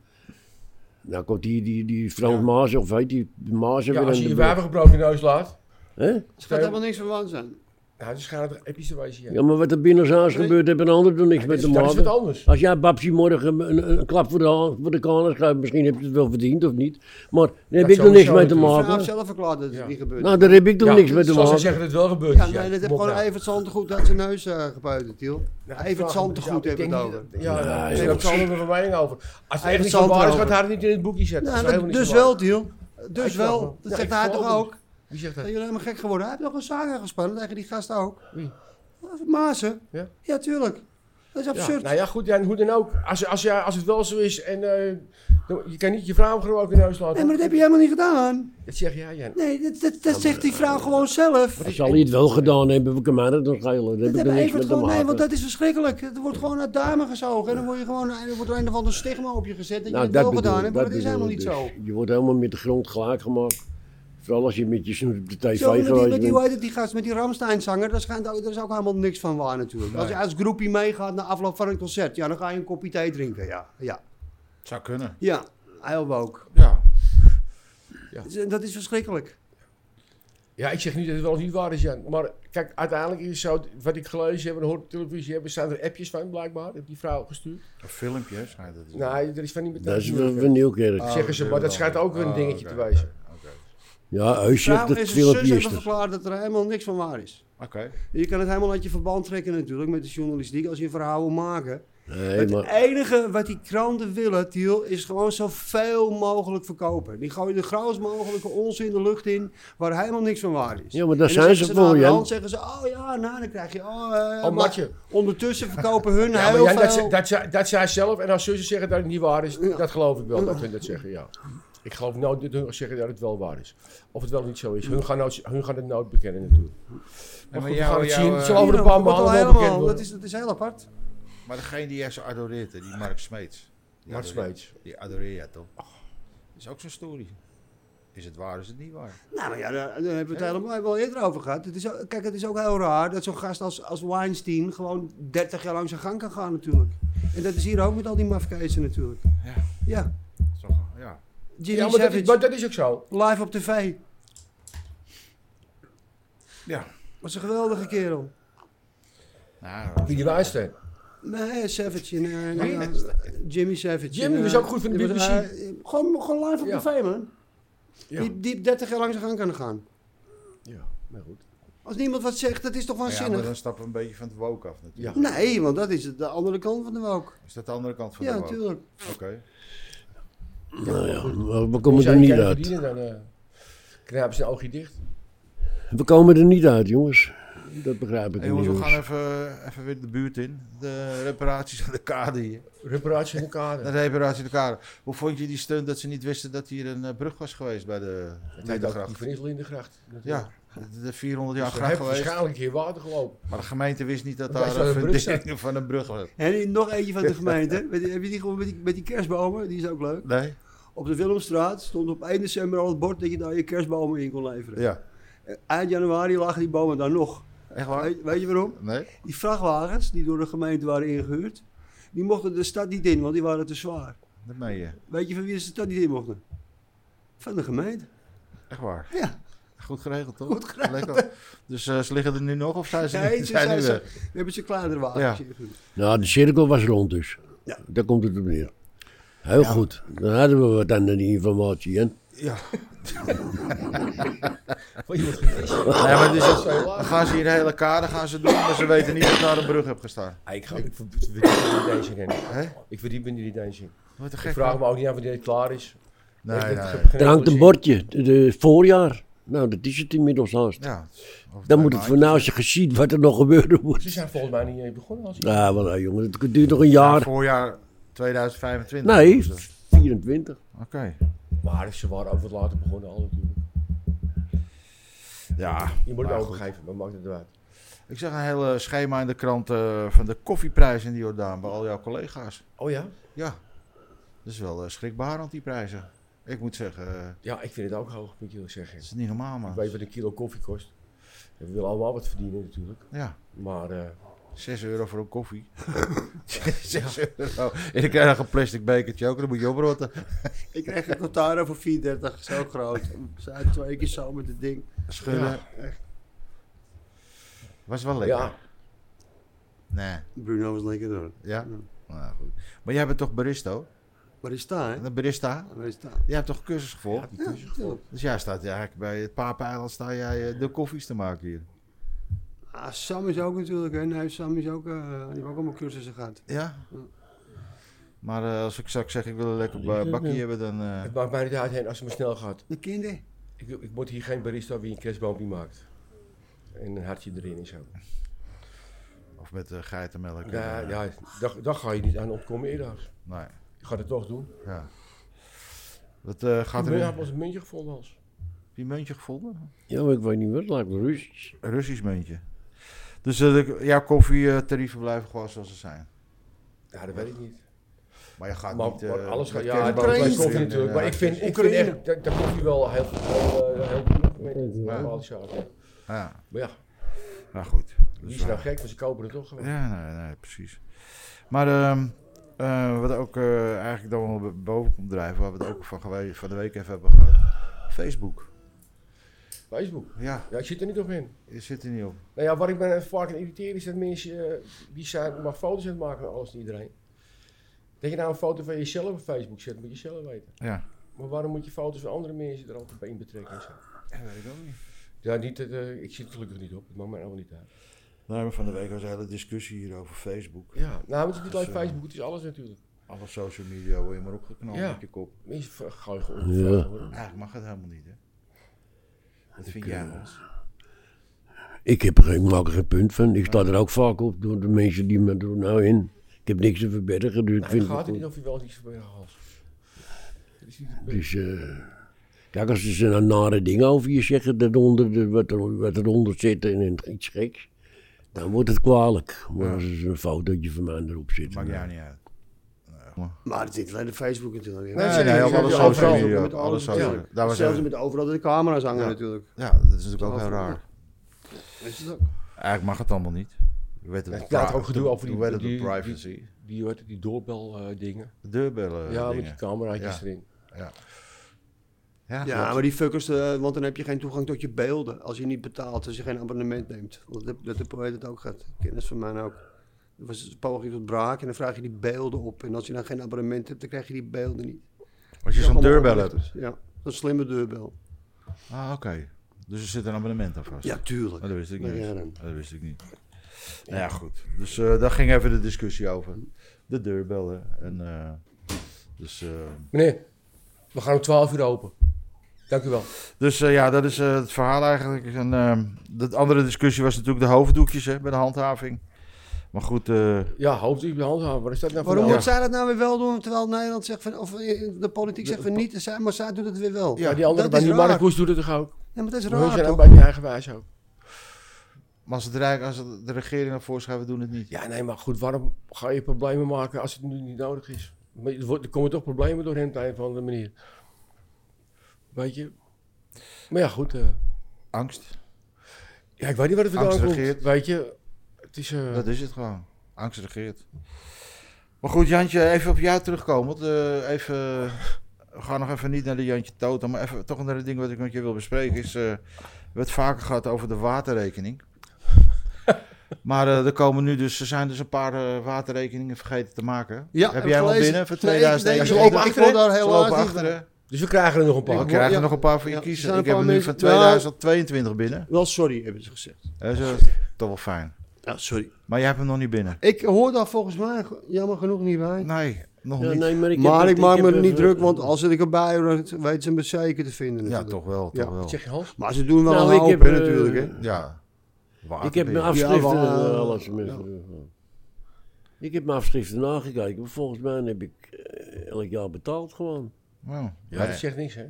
Speaker 5: Nou komt die, die, die Frans
Speaker 4: Ja.
Speaker 5: Maas, of heet die Maas er
Speaker 4: Ja,
Speaker 5: weer
Speaker 4: als je
Speaker 5: aan de
Speaker 4: je
Speaker 5: beurt.
Speaker 4: wijven gebroken in de neus laat,
Speaker 5: Hè?
Speaker 3: Het gaat helemaal niks van waan zijn.
Speaker 4: nou, dan schijnt het episch te wijzen. Ja.
Speaker 5: Ja, maar wat er binnenhuis gebeurt, hebben een ander er niks
Speaker 4: Ja,
Speaker 5: met
Speaker 4: dat
Speaker 5: te
Speaker 4: is- dat is
Speaker 5: maken.
Speaker 4: wat anders.
Speaker 5: Als jij Babsi morgen een, een, een klap voor de, hand- voor de kanus geeft, misschien heb je het wel verdiend of niet. Maar daar heb
Speaker 4: Dat
Speaker 5: ik er niks
Speaker 4: sowieso
Speaker 5: mee te
Speaker 4: natuurlijk.
Speaker 3: De vrouw heeft
Speaker 5: maken.
Speaker 3: zelf verklaard dat het
Speaker 4: Ja.
Speaker 3: niet gebeurt.
Speaker 5: Nou, daar heb ik toch
Speaker 4: Ja,
Speaker 5: niks mee te
Speaker 4: Zoals ze
Speaker 5: maken.
Speaker 4: zeggen dat het wel gebeurd
Speaker 3: ja,
Speaker 4: is.
Speaker 3: nee, dat heeft
Speaker 4: Mok
Speaker 3: gewoon
Speaker 4: nou.
Speaker 3: even het zandegoed uit zijn neus eh gebuiten, Tiel.
Speaker 4: Nou,
Speaker 3: Even het
Speaker 4: vraag me dus af,
Speaker 3: zandegoed
Speaker 4: ik
Speaker 3: hebben
Speaker 4: denk
Speaker 3: het
Speaker 4: niet- Ja,
Speaker 5: Ja,
Speaker 4: daar
Speaker 5: is
Speaker 4: heb
Speaker 5: ook
Speaker 4: ik zo'n andere mening over. Als het
Speaker 3: Even
Speaker 4: echt niet zo
Speaker 3: zand
Speaker 4: waar is, gaat
Speaker 3: erover.
Speaker 4: hij het niet in het boekje zetten.
Speaker 3: Nou,
Speaker 4: Dat is helemaal niet
Speaker 3: dus
Speaker 4: zo waar.
Speaker 3: wel, Tiel. Dus
Speaker 4: ik snap
Speaker 3: wel.
Speaker 4: hem.
Speaker 3: Dat
Speaker 4: Ja,
Speaker 3: zegt
Speaker 4: ik
Speaker 3: hij
Speaker 4: snap
Speaker 3: toch
Speaker 4: hem.
Speaker 3: ook?
Speaker 4: Wie zegt
Speaker 3: Dat
Speaker 4: dat?
Speaker 3: jullie helemaal gek geworden. Hij heeft nog een zaak aangespannen tegen die gast ook.
Speaker 4: Wie?
Speaker 3: Maasen.
Speaker 4: Ja?
Speaker 3: Ja, tuurlijk. Dat is
Speaker 4: Ja,
Speaker 3: absurd.
Speaker 4: nou ja, goed, ja, en hoe dan ook. Als, als, ja, als het wel zo is en eh, dan- je kan niet je vrouw gewoon ook in huis laten.
Speaker 3: Nee, maar dat heb je helemaal niet gedaan.
Speaker 4: Dat zeg jij, Jan.
Speaker 3: Nee, dat, dat, dat zegt die
Speaker 5: eh,
Speaker 3: vrouw gewoon zelf.
Speaker 5: Als zal hij het wel gedaan hebben, we kunnen mij dat nog schelen. Daar
Speaker 3: Dat
Speaker 5: heb ik
Speaker 3: hebben
Speaker 5: er niks
Speaker 3: even
Speaker 5: mee te
Speaker 3: gewoon, nee,
Speaker 5: maken.
Speaker 3: want dat is verschrikkelijk. Het wordt gewoon uit duimen gezogen. En dan word je gewoon, er wordt er een of ander stigma op je gezet Nou, dat je het wel
Speaker 5: Nou, bedoel
Speaker 3: gedaan
Speaker 5: ik,
Speaker 3: hebt. Maar dat is
Speaker 5: bedoel
Speaker 3: helemaal
Speaker 5: ik
Speaker 3: niet zo.
Speaker 5: dus. Je wordt helemaal met de grond gelijk gemaakt. Vooral als je met je snoet op de tv
Speaker 3: Zo, met die,
Speaker 5: geweest
Speaker 3: met die, hoe
Speaker 5: bent.
Speaker 3: heet het, die gast, met die Ramstein-zanger, daar, schijnt ook- daar is ook helemaal niks van waar natuurlijk. Als je als groepie meegaat na afloop van een concert, ja, dan ga je een kopje thee drinken, ja. Ja,
Speaker 1: Het zou kunnen.
Speaker 3: ja heel ook.
Speaker 1: Ja.
Speaker 3: Dat is verschrikkelijk.
Speaker 4: Ja, ik zeg niet dat het wel of niet waar is, Jan. Maar kijk, uiteindelijk is het zo, wat ik gelezen heb en hoor op televisie hebben, staan er appjes van blijkbaar. Heb die vrouw gestuurd.
Speaker 1: Een filmpje, hè, schijnt het.
Speaker 4: Nee, er is van niet meteen.
Speaker 5: Dat is
Speaker 4: gebeurd.
Speaker 5: van Nieuwkerk.
Speaker 4: Nou,
Speaker 1: Oh,
Speaker 4: zeggen ze, maar dat schijnt ook weer een dingetje te wijzen.
Speaker 5: Ja, hij
Speaker 3: Vrouw
Speaker 5: zegt dat het
Speaker 3: en zijn zus
Speaker 5: filmpje is
Speaker 3: hebben
Speaker 5: er.
Speaker 3: verklaard dat er helemaal niks van waar is.
Speaker 1: Oké.
Speaker 3: Je kan het helemaal uit je verband trekken natuurlijk met de journalistiek als je een verhaal wil maken.
Speaker 5: Nee,
Speaker 3: het
Speaker 5: maar
Speaker 3: enige wat die kranten willen, Tiel, is gewoon zoveel mogelijk verkopen. Die gooien de grootst mogelijke onzin de lucht in, waar helemaal niks van waar is.
Speaker 5: Ja, maar daar
Speaker 3: En dan
Speaker 5: zijn
Speaker 3: zeggen
Speaker 5: ze voor,
Speaker 3: na de
Speaker 5: Jan.
Speaker 3: hand zeggen ze, oh ja, nou dan krijg je, oh, eh, maar
Speaker 4: Omdat je.
Speaker 3: Ondertussen verkopen hun
Speaker 4: Ja, maar
Speaker 3: Nou, heel
Speaker 4: Jan, dat,
Speaker 3: veel.
Speaker 4: ze- dat, ze- dat zij zelf en haar zussen zeggen dat het niet waar is, dat geloof ik wel dat hun dat zeggen, ja. Ik geloof nooit dat hun zeggen dat het wel waar is. Of het wel niet zo is. Hun gaan, nooit, hun gaan het nooit bekennen natuurlijk.
Speaker 1: maar
Speaker 4: Maar goed, we
Speaker 1: jou-
Speaker 4: gaan het
Speaker 1: jou,
Speaker 4: zien.
Speaker 1: eh,
Speaker 4: Het zal over
Speaker 3: Ja,
Speaker 4: een paar
Speaker 3: dat wordt wel
Speaker 4: maanden wel bekend
Speaker 3: helemaal, dat,
Speaker 4: worden.
Speaker 3: is, dat is heel apart.
Speaker 1: Maar degene die jij zo adoreert, hè, die Mark Smeets. Die
Speaker 4: Mark
Speaker 1: adoreer-
Speaker 4: Smeets.
Speaker 1: Die adoreer jij toch?
Speaker 4: Oh.
Speaker 1: Is ook zo'n story. Is het waar, is het niet waar?
Speaker 3: Nou maar ja, daar, daar hebben we het helemaal wel eerder over gehad. Het is, ook- kijk, het is ook heel raar dat zo'n gast als, als Weinstein gewoon 30 jaar lang zijn gang kan gaan natuurlijk. En dat is hier ook met al die mafkezen natuurlijk.
Speaker 1: Ja.
Speaker 3: Ja.
Speaker 1: Zo, ja.
Speaker 3: Jimmy
Speaker 4: Ja, maar dat,
Speaker 3: Savage,
Speaker 4: is, maar dat is ook zo.
Speaker 3: live op tv.
Speaker 1: Ja.
Speaker 3: Was een geweldige kerel.
Speaker 1: Nou,
Speaker 4: Wie die wijste.
Speaker 3: Nee, Savage. en, eh, en, eh, Jimmy Savage.
Speaker 4: Jimmy
Speaker 3: en,
Speaker 4: was
Speaker 3: eh,
Speaker 4: ook goed voor de
Speaker 3: die was,
Speaker 4: BBC.
Speaker 3: eh, gewoon, gewoon live op
Speaker 4: Ja.
Speaker 3: tv, man.
Speaker 4: Ja.
Speaker 3: Die, die 30 jaar langs de gang kunnen gaan.
Speaker 4: Ja, maar goed.
Speaker 3: Als niemand wat zegt, dat is toch
Speaker 1: ja, maar
Speaker 3: waanzinnig?
Speaker 1: dan stappen we een beetje van de woke af natuurlijk.
Speaker 3: Nee, want dat is de andere kant van de wok.
Speaker 1: Is dat de andere kant van
Speaker 3: Ja,
Speaker 1: de woke?
Speaker 3: natuurlijk.
Speaker 1: Oké.
Speaker 5: Nou ja, we- we
Speaker 4: Als
Speaker 5: komen
Speaker 4: jij
Speaker 5: er niet
Speaker 4: kern
Speaker 5: uit.
Speaker 4: verdient, Dan eh, knijpen ze een oogje dicht.
Speaker 5: We komen er niet uit, jongens. Dat begrijp ik
Speaker 1: Hey,
Speaker 5: niet,
Speaker 1: jongens, we
Speaker 5: jongens.
Speaker 1: gaan even, even weer de buurt in. De reparaties aan de kade hier.
Speaker 4: Reparatie in de
Speaker 1: De
Speaker 4: kader.
Speaker 1: reparatie aan de kade. Hoe vond je die steun dat ze niet wisten dat hier een eh, brug was geweest bij de
Speaker 4: Nee, dat
Speaker 1: Nedergracht?
Speaker 4: die van Israël in de gracht.
Speaker 1: Ja, de de 400 jaar
Speaker 4: Ze
Speaker 1: gracht
Speaker 4: heeft
Speaker 1: geweest.
Speaker 4: waarschijnlijk hier water gelopen.
Speaker 1: Maar de gemeente wist niet dat
Speaker 4: Dat
Speaker 1: daar
Speaker 4: zou
Speaker 1: een
Speaker 4: een brug zijn.
Speaker 1: fundering van een brug was.
Speaker 3: En die- nog eentje van de gemeente. Weet je- Heb je die gewoon met die, met die kerstbomen? Die is ook leuk.
Speaker 1: Nee?
Speaker 3: Op de Willemstraat stond op 1 december al het bord dat je daar je kerstbomen in kon leveren.
Speaker 1: Ja.
Speaker 3: Eind januari lagen die bomen daar nog.
Speaker 1: Echt waar?
Speaker 3: Weet, weet je waarom?
Speaker 1: Nee?
Speaker 3: Die vrachtwagens die door de gemeente waren ingehuurd, die mochten de stad niet in, want die waren te zwaar.
Speaker 1: Dat meen je.
Speaker 3: Weet je van wie de stad niet in mochten? Van de gemeente.
Speaker 1: Echt waar?
Speaker 3: Ja.
Speaker 1: Goed geregeld, toch?
Speaker 3: Goed geregeld,
Speaker 1: Lekker. Dus eh, ze liggen er nu nog of zijn ze,
Speaker 3: Nee,
Speaker 1: nu,
Speaker 3: ze
Speaker 1: zijn
Speaker 3: zijn
Speaker 1: nu
Speaker 3: ze-
Speaker 1: weg?
Speaker 3: We hebben ze kleinere wagens ingehuurd.
Speaker 5: Nou, de cirkel was rond dus.
Speaker 3: Ja.
Speaker 5: Daar komt het op neer. Heel goed. Dan hadden we wat aan die informatie. Hè?
Speaker 4: Van iemand geweest.
Speaker 1: Ja, maar dus,
Speaker 4: Zo laag.
Speaker 1: dan gaan ze hier een hele kade gaan ze doen, maar ze weten niet dat daar een brug heb gestaan.
Speaker 4: Ah, Ik, ga, ik verdiep me niet eens in.
Speaker 1: Hè?
Speaker 4: Ik verdiep me niet eens in.
Speaker 1: Wat een
Speaker 4: Ik
Speaker 1: gek.
Speaker 4: vraag
Speaker 1: man.
Speaker 4: me ook niet aan wanneer het klaar is.
Speaker 1: Nee,
Speaker 4: Ik- ik
Speaker 1: nee.
Speaker 4: heb
Speaker 1: nee.
Speaker 4: geen
Speaker 5: Er hangt een
Speaker 4: zin.
Speaker 5: bordje. De, de voorjaar. Nou, dat is het inmiddels haast.
Speaker 1: Ja. over twee
Speaker 5: Dan moet het
Speaker 1: maanden.
Speaker 5: voor nou, als je gezien wat er nog gebeuren moet.
Speaker 4: Ze zijn volgens mij niet eh, begonnen als
Speaker 5: Ja, wel nou, jongen, het duurt nog een
Speaker 1: Ja,
Speaker 5: jaar.
Speaker 1: voorjaar 2025.
Speaker 5: Nee,
Speaker 1: Oké.
Speaker 5: 24.
Speaker 4: Maar ze waren ook wat later begonnen al natuurlijk.
Speaker 1: Ja.
Speaker 4: Je moet het
Speaker 1: maar goed.
Speaker 4: overgeven, maar maakt het uit.
Speaker 1: Ik zag een hele schema in de krant eh, van de koffieprijs in de Jordaan bij al jouw collega's.
Speaker 4: Oh ja?
Speaker 1: Ja. Dat is wel eh, schrikbarend, die prijzen. Ik moet zeggen, eh,
Speaker 4: Ja, ik vind het ook hoog, moet ik eerlijk zeggen.
Speaker 1: het is niet normaal,
Speaker 4: Ik
Speaker 1: man.
Speaker 4: weet wat een kilo koffie kost. En we willen allemaal wat verdienen natuurlijk.
Speaker 1: Ja.
Speaker 4: Maar eh,
Speaker 1: 6 euro voor een koffie. 6 euro. En dan krijg je nog een plastic bekertje ook, dan moet je oprotten.
Speaker 3: Ik kreeg een Contara voor 34, zo groot. Ze had twee keer zo met het ding.
Speaker 1: Schudden. Was wel lekker.
Speaker 4: ja,
Speaker 1: Nee.
Speaker 3: Bruno was lekker door.
Speaker 1: Ja?
Speaker 3: Ja.
Speaker 1: Nou, goed. Maar jij bent toch baristo?
Speaker 3: Waar is daar, hè?
Speaker 1: Een barista?
Speaker 3: Waar is daar?
Speaker 1: Jij hebt toch een cursus gevolgd?
Speaker 4: die cursus gevolgd.
Speaker 1: Dus jij staat ja, eigenlijk bij het Papeneiland sta jij eh, de koffies te maken hier.
Speaker 3: Ah, Sam is ook natuurlijk, hè? Nee, Sam is ook, eh, die heeft ook allemaal cursussen gehad.
Speaker 1: Ja? Maar eh, als ik straks zeg ik wil een lekker ba- bakkie hebben, dan... eh,
Speaker 4: Het maakt mij niet uit Hen, als het maar snel gaat.
Speaker 3: De kinderen.
Speaker 4: Ik, ik word hier geen barista wie een kerstboompje maakt. En een hartje erin en zo.
Speaker 1: of met eh, geitenmelk.
Speaker 4: Ja,
Speaker 1: en, eh,
Speaker 4: ja daar, daar ga je niet aan ontkomen eerder.
Speaker 1: Nee,
Speaker 4: Je gaat het toch doen.
Speaker 1: ja. Wat eh, gaat
Speaker 4: Gaat
Speaker 1: er
Speaker 4: ik
Speaker 1: nu?
Speaker 4: heb
Speaker 1: Heb
Speaker 4: ons een muntje gevonden als.
Speaker 1: je een muntje gevonden?
Speaker 5: Ja, maar ik weet niet wat. Lijkt me Russisch.
Speaker 1: Een Russisch muntje. Dus eh, de- jouw koffietarieven blijven gewoon zoals ze zijn.
Speaker 4: Ja, dat weet ik niet.
Speaker 1: Maar je gaat
Speaker 4: Maar,
Speaker 1: niet... eh,
Speaker 4: maar alles gaat.
Speaker 1: met
Speaker 4: Ja, het
Speaker 1: kerstboom
Speaker 4: is bij
Speaker 1: erin,
Speaker 4: koffie
Speaker 1: eh,
Speaker 4: natuurlijk. Maar ik vind, ik vind
Speaker 3: Oekraïne.
Speaker 4: echt, dat, dat koffie wel heel veel. heel goed.
Speaker 1: Ja.
Speaker 4: Ja.
Speaker 1: Ja,
Speaker 4: Maar ja,
Speaker 1: nou goed.
Speaker 4: wie is nou gek? Want ze kopen het toch gewoon.
Speaker 1: Ja, nee, nee, precies. Maar ehm, eh, wat ook eh, eigenlijk dan wel boven komt drijven, waar we het ook van, gewe- van de week even hebben gehad. Facebook.
Speaker 4: Facebook.
Speaker 1: Ja,
Speaker 4: Ja, ik zit er niet op in.
Speaker 1: je zit er niet op.
Speaker 4: Nou ja, wat ik me vaak aan irriteer is dat mensen eh, die zijn maar foto's aan het maken van alles en iedereen. Dat je nou een foto van jezelf op Facebook zet, moet je zelf weten.
Speaker 1: Ja.
Speaker 4: Maar waarom moet je foto's van andere mensen er altijd bij in betrekken? en zo?
Speaker 1: Dat weet ik ook niet.
Speaker 4: Ja, niet, dat, eh, ik zit er gelukkig niet op. Het maakt mij allemaal niet uit.
Speaker 1: Nee, maar van de week was een hele discussie hier over Facebook.
Speaker 4: Ja, nou, maar het is niet
Speaker 1: Dus,
Speaker 4: alleen
Speaker 1: eh,
Speaker 4: Facebook, het is alles natuurlijk.
Speaker 1: Alle social media word je maar opgeknald
Speaker 4: Ja.
Speaker 1: met je kop.
Speaker 4: Mensen ver- gooien gewoon
Speaker 5: Ja.
Speaker 4: hoor.
Speaker 1: Eigenlijk mag het helemaal niet, hè? Wat vind jij, Hans?
Speaker 5: Ik heb er geen, maak er geen punt van. Ik sta er ook vaak op door de mensen die me doen. Nou in. Ik heb niks te verbergen, dus ik
Speaker 4: Nou,
Speaker 5: vind
Speaker 4: dan gaat
Speaker 5: het
Speaker 4: het
Speaker 5: goed.
Speaker 4: niet of je wel iets verbergen als. Dat is niet het punt.
Speaker 5: Dus, eh, kijk, als ze een nare ding over je zeggen, daaronder, de- wat, er, wat eronder zit en een- iets geks, dan wordt het kwalijk. Maar als er een fotootje van mij erop zit.
Speaker 1: Maakt
Speaker 5: dan-
Speaker 1: jou niet uit.
Speaker 3: Maar het is niet alleen de Facebook natuurlijk. hè?
Speaker 4: Nee,
Speaker 1: Nee, nee,
Speaker 4: je
Speaker 1: op
Speaker 4: zit
Speaker 1: alle
Speaker 4: er
Speaker 1: social
Speaker 4: overal,
Speaker 1: media.
Speaker 3: met alles
Speaker 1: Alle social
Speaker 3: natuurlijk.
Speaker 1: Daar was
Speaker 3: Zelfs
Speaker 1: even-
Speaker 3: met overal de camera's hangen
Speaker 1: Ja.
Speaker 3: natuurlijk.
Speaker 1: Ja, dat is natuurlijk ook heel
Speaker 3: Overal.
Speaker 1: raar.
Speaker 3: Is het ook?
Speaker 1: Eigenlijk mag het allemaal niet. werd het
Speaker 4: Het gaat
Speaker 1: pri-
Speaker 4: ook gedoe
Speaker 1: toen-
Speaker 4: over die-
Speaker 1: toen werd het
Speaker 4: die-
Speaker 1: de privacy.
Speaker 4: Die, hoort die doorbel eh, dingen.
Speaker 1: De deurbellen
Speaker 4: ja, met die
Speaker 1: dingen.
Speaker 4: cameraatjes
Speaker 1: Ja.
Speaker 4: erin.
Speaker 1: Ja,
Speaker 3: Ja, maar die fuckers, eh, want dan heb je geen toegang tot je beelden. Als je niet betaalt, als je geen abonnement neemt. Want dat, dat heb hoe heet het ook gehad. Kennis van mij ook. Er was een poging tot braak en dan vraag je die beelden op. En als je dan geen abonnement hebt, dan krijg je die beelden niet.
Speaker 1: Als je zo'n deurbel hebt.
Speaker 3: Ja, een slimme deurbel.
Speaker 1: Ah, oké. Dus er zit een abonnement aan vast.
Speaker 3: Ja, tuurlijk.
Speaker 1: Maar dat wist ik
Speaker 3: Maar
Speaker 1: niet.
Speaker 3: ja,
Speaker 1: eens. Oh,
Speaker 3: dan.
Speaker 1: dat wist ik niet. Nou ja, goed. Dus eh, daar ging even de discussie over. De deurbellen. En, eh, dus eh,
Speaker 4: Meneer, we gaan om 12 uur open. Dank u wel.
Speaker 1: dus eh, ja, dat is eh, het verhaal eigenlijk. En, eh, de andere discussie was natuurlijk de hoofddoekjes hè, bij de handhaving. Maar goed, eh,
Speaker 4: Ja, hoofd u bij hand houden. Wat is dat nou voor
Speaker 3: Waarom
Speaker 4: nou?
Speaker 3: moet zij dat nou weer wel doen, terwijl Nederland zegt van, of eh, de politiek zegt van niet, en zij- maar zij doet het weer wel.
Speaker 4: Ja, die andere
Speaker 3: dat
Speaker 4: bij
Speaker 3: is
Speaker 4: die
Speaker 3: raar.
Speaker 4: Marcus doet het toch ook?
Speaker 3: Nee, maar dat is
Speaker 4: Hun
Speaker 3: raar
Speaker 4: zijn ook
Speaker 3: toch?
Speaker 4: nou bij die eigen wijs ook.
Speaker 1: maar als, het Rijk, als het de regering naar voorschrijft, we doen het niet.
Speaker 4: Ja, nee, maar goed, waarom ga je problemen maken als het nu niet nodig is? Maar er wordt- er komen toch problemen door hem op een of andere manier. Weet je? Maar ja, goed. eh,
Speaker 1: Angst,
Speaker 4: ja, ik weet niet wat het
Speaker 1: Angst
Speaker 4: vandaan komt.
Speaker 1: regeert.
Speaker 4: Weet je? Het is... eh,
Speaker 1: dat is het gewoon. Angst regeert. Maar goed, Jantje, even op jou terugkomen. Want, eh, even, we gaan nog even niet naar de Jantje Toto, maar even, toch naar het ding wat ik met je wil bespreken. Is, eh, we hebben het vaker gehad over de waterrekening. maar eh, er komen nu dus, er zijn dus een paar eh, waterrekeningen vergeten te maken.
Speaker 3: Ja,
Speaker 1: Heb
Speaker 3: heb
Speaker 1: jij
Speaker 3: ik
Speaker 1: al
Speaker 3: gelezen.
Speaker 1: binnen voor
Speaker 3: Nee, nee,
Speaker 1: 2019?
Speaker 3: ik- ik- ik wil daar
Speaker 1: Ze
Speaker 3: helaas
Speaker 1: lopen
Speaker 3: niet
Speaker 1: achter,
Speaker 3: van.
Speaker 1: hè?
Speaker 4: Dus we krijgen er nog een
Speaker 1: We
Speaker 4: paar.
Speaker 3: Ik-
Speaker 1: krijgen
Speaker 3: ja.
Speaker 1: er nog een paar voor je
Speaker 3: Ja, er zijn
Speaker 1: kiezen.
Speaker 3: een
Speaker 1: Ik heb
Speaker 3: paar
Speaker 1: er nu
Speaker 3: mensen-
Speaker 1: van 2022 binnen.
Speaker 3: Wel sorry, hebben ze gezegd.
Speaker 1: Dat is eh, toch wel fijn.
Speaker 3: Ja, sorry.
Speaker 1: Maar jij hebt hem nog niet binnen.
Speaker 3: Ik hoor daar volgens mij go- jammer genoeg niet bij.
Speaker 1: Nee, nog
Speaker 5: Ja,
Speaker 1: niet.
Speaker 5: nee, maar ik, heb
Speaker 3: maar
Speaker 5: het-
Speaker 3: ik maak
Speaker 5: heb
Speaker 3: me er niet
Speaker 5: even-
Speaker 3: druk, want als ik erbij hoor, dan weten ze me zeker te vinden.
Speaker 1: Ja,
Speaker 3: natuurlijk.
Speaker 1: toch wel, toch
Speaker 3: Dus Ja.
Speaker 1: wel.
Speaker 4: Zeg je Hans?
Speaker 3: Maar ze doen wel
Speaker 5: Nou,
Speaker 3: een
Speaker 5: ik
Speaker 3: hoop,
Speaker 5: heb,
Speaker 3: hè,
Speaker 5: eh,
Speaker 3: natuurlijk. Hè.
Speaker 1: Ja.
Speaker 5: Ik heb mijn
Speaker 1: Waterperen.
Speaker 5: afschriften
Speaker 3: Ja, wel,
Speaker 5: eh, alles.
Speaker 3: ja.
Speaker 5: met- Ik heb mijn afschriften nagekeken. maar Volgens mij heb ik eh, elk jaar betaald gewoon.
Speaker 1: Nou,
Speaker 4: Ja,
Speaker 1: nee.
Speaker 4: dat zegt niks, hè?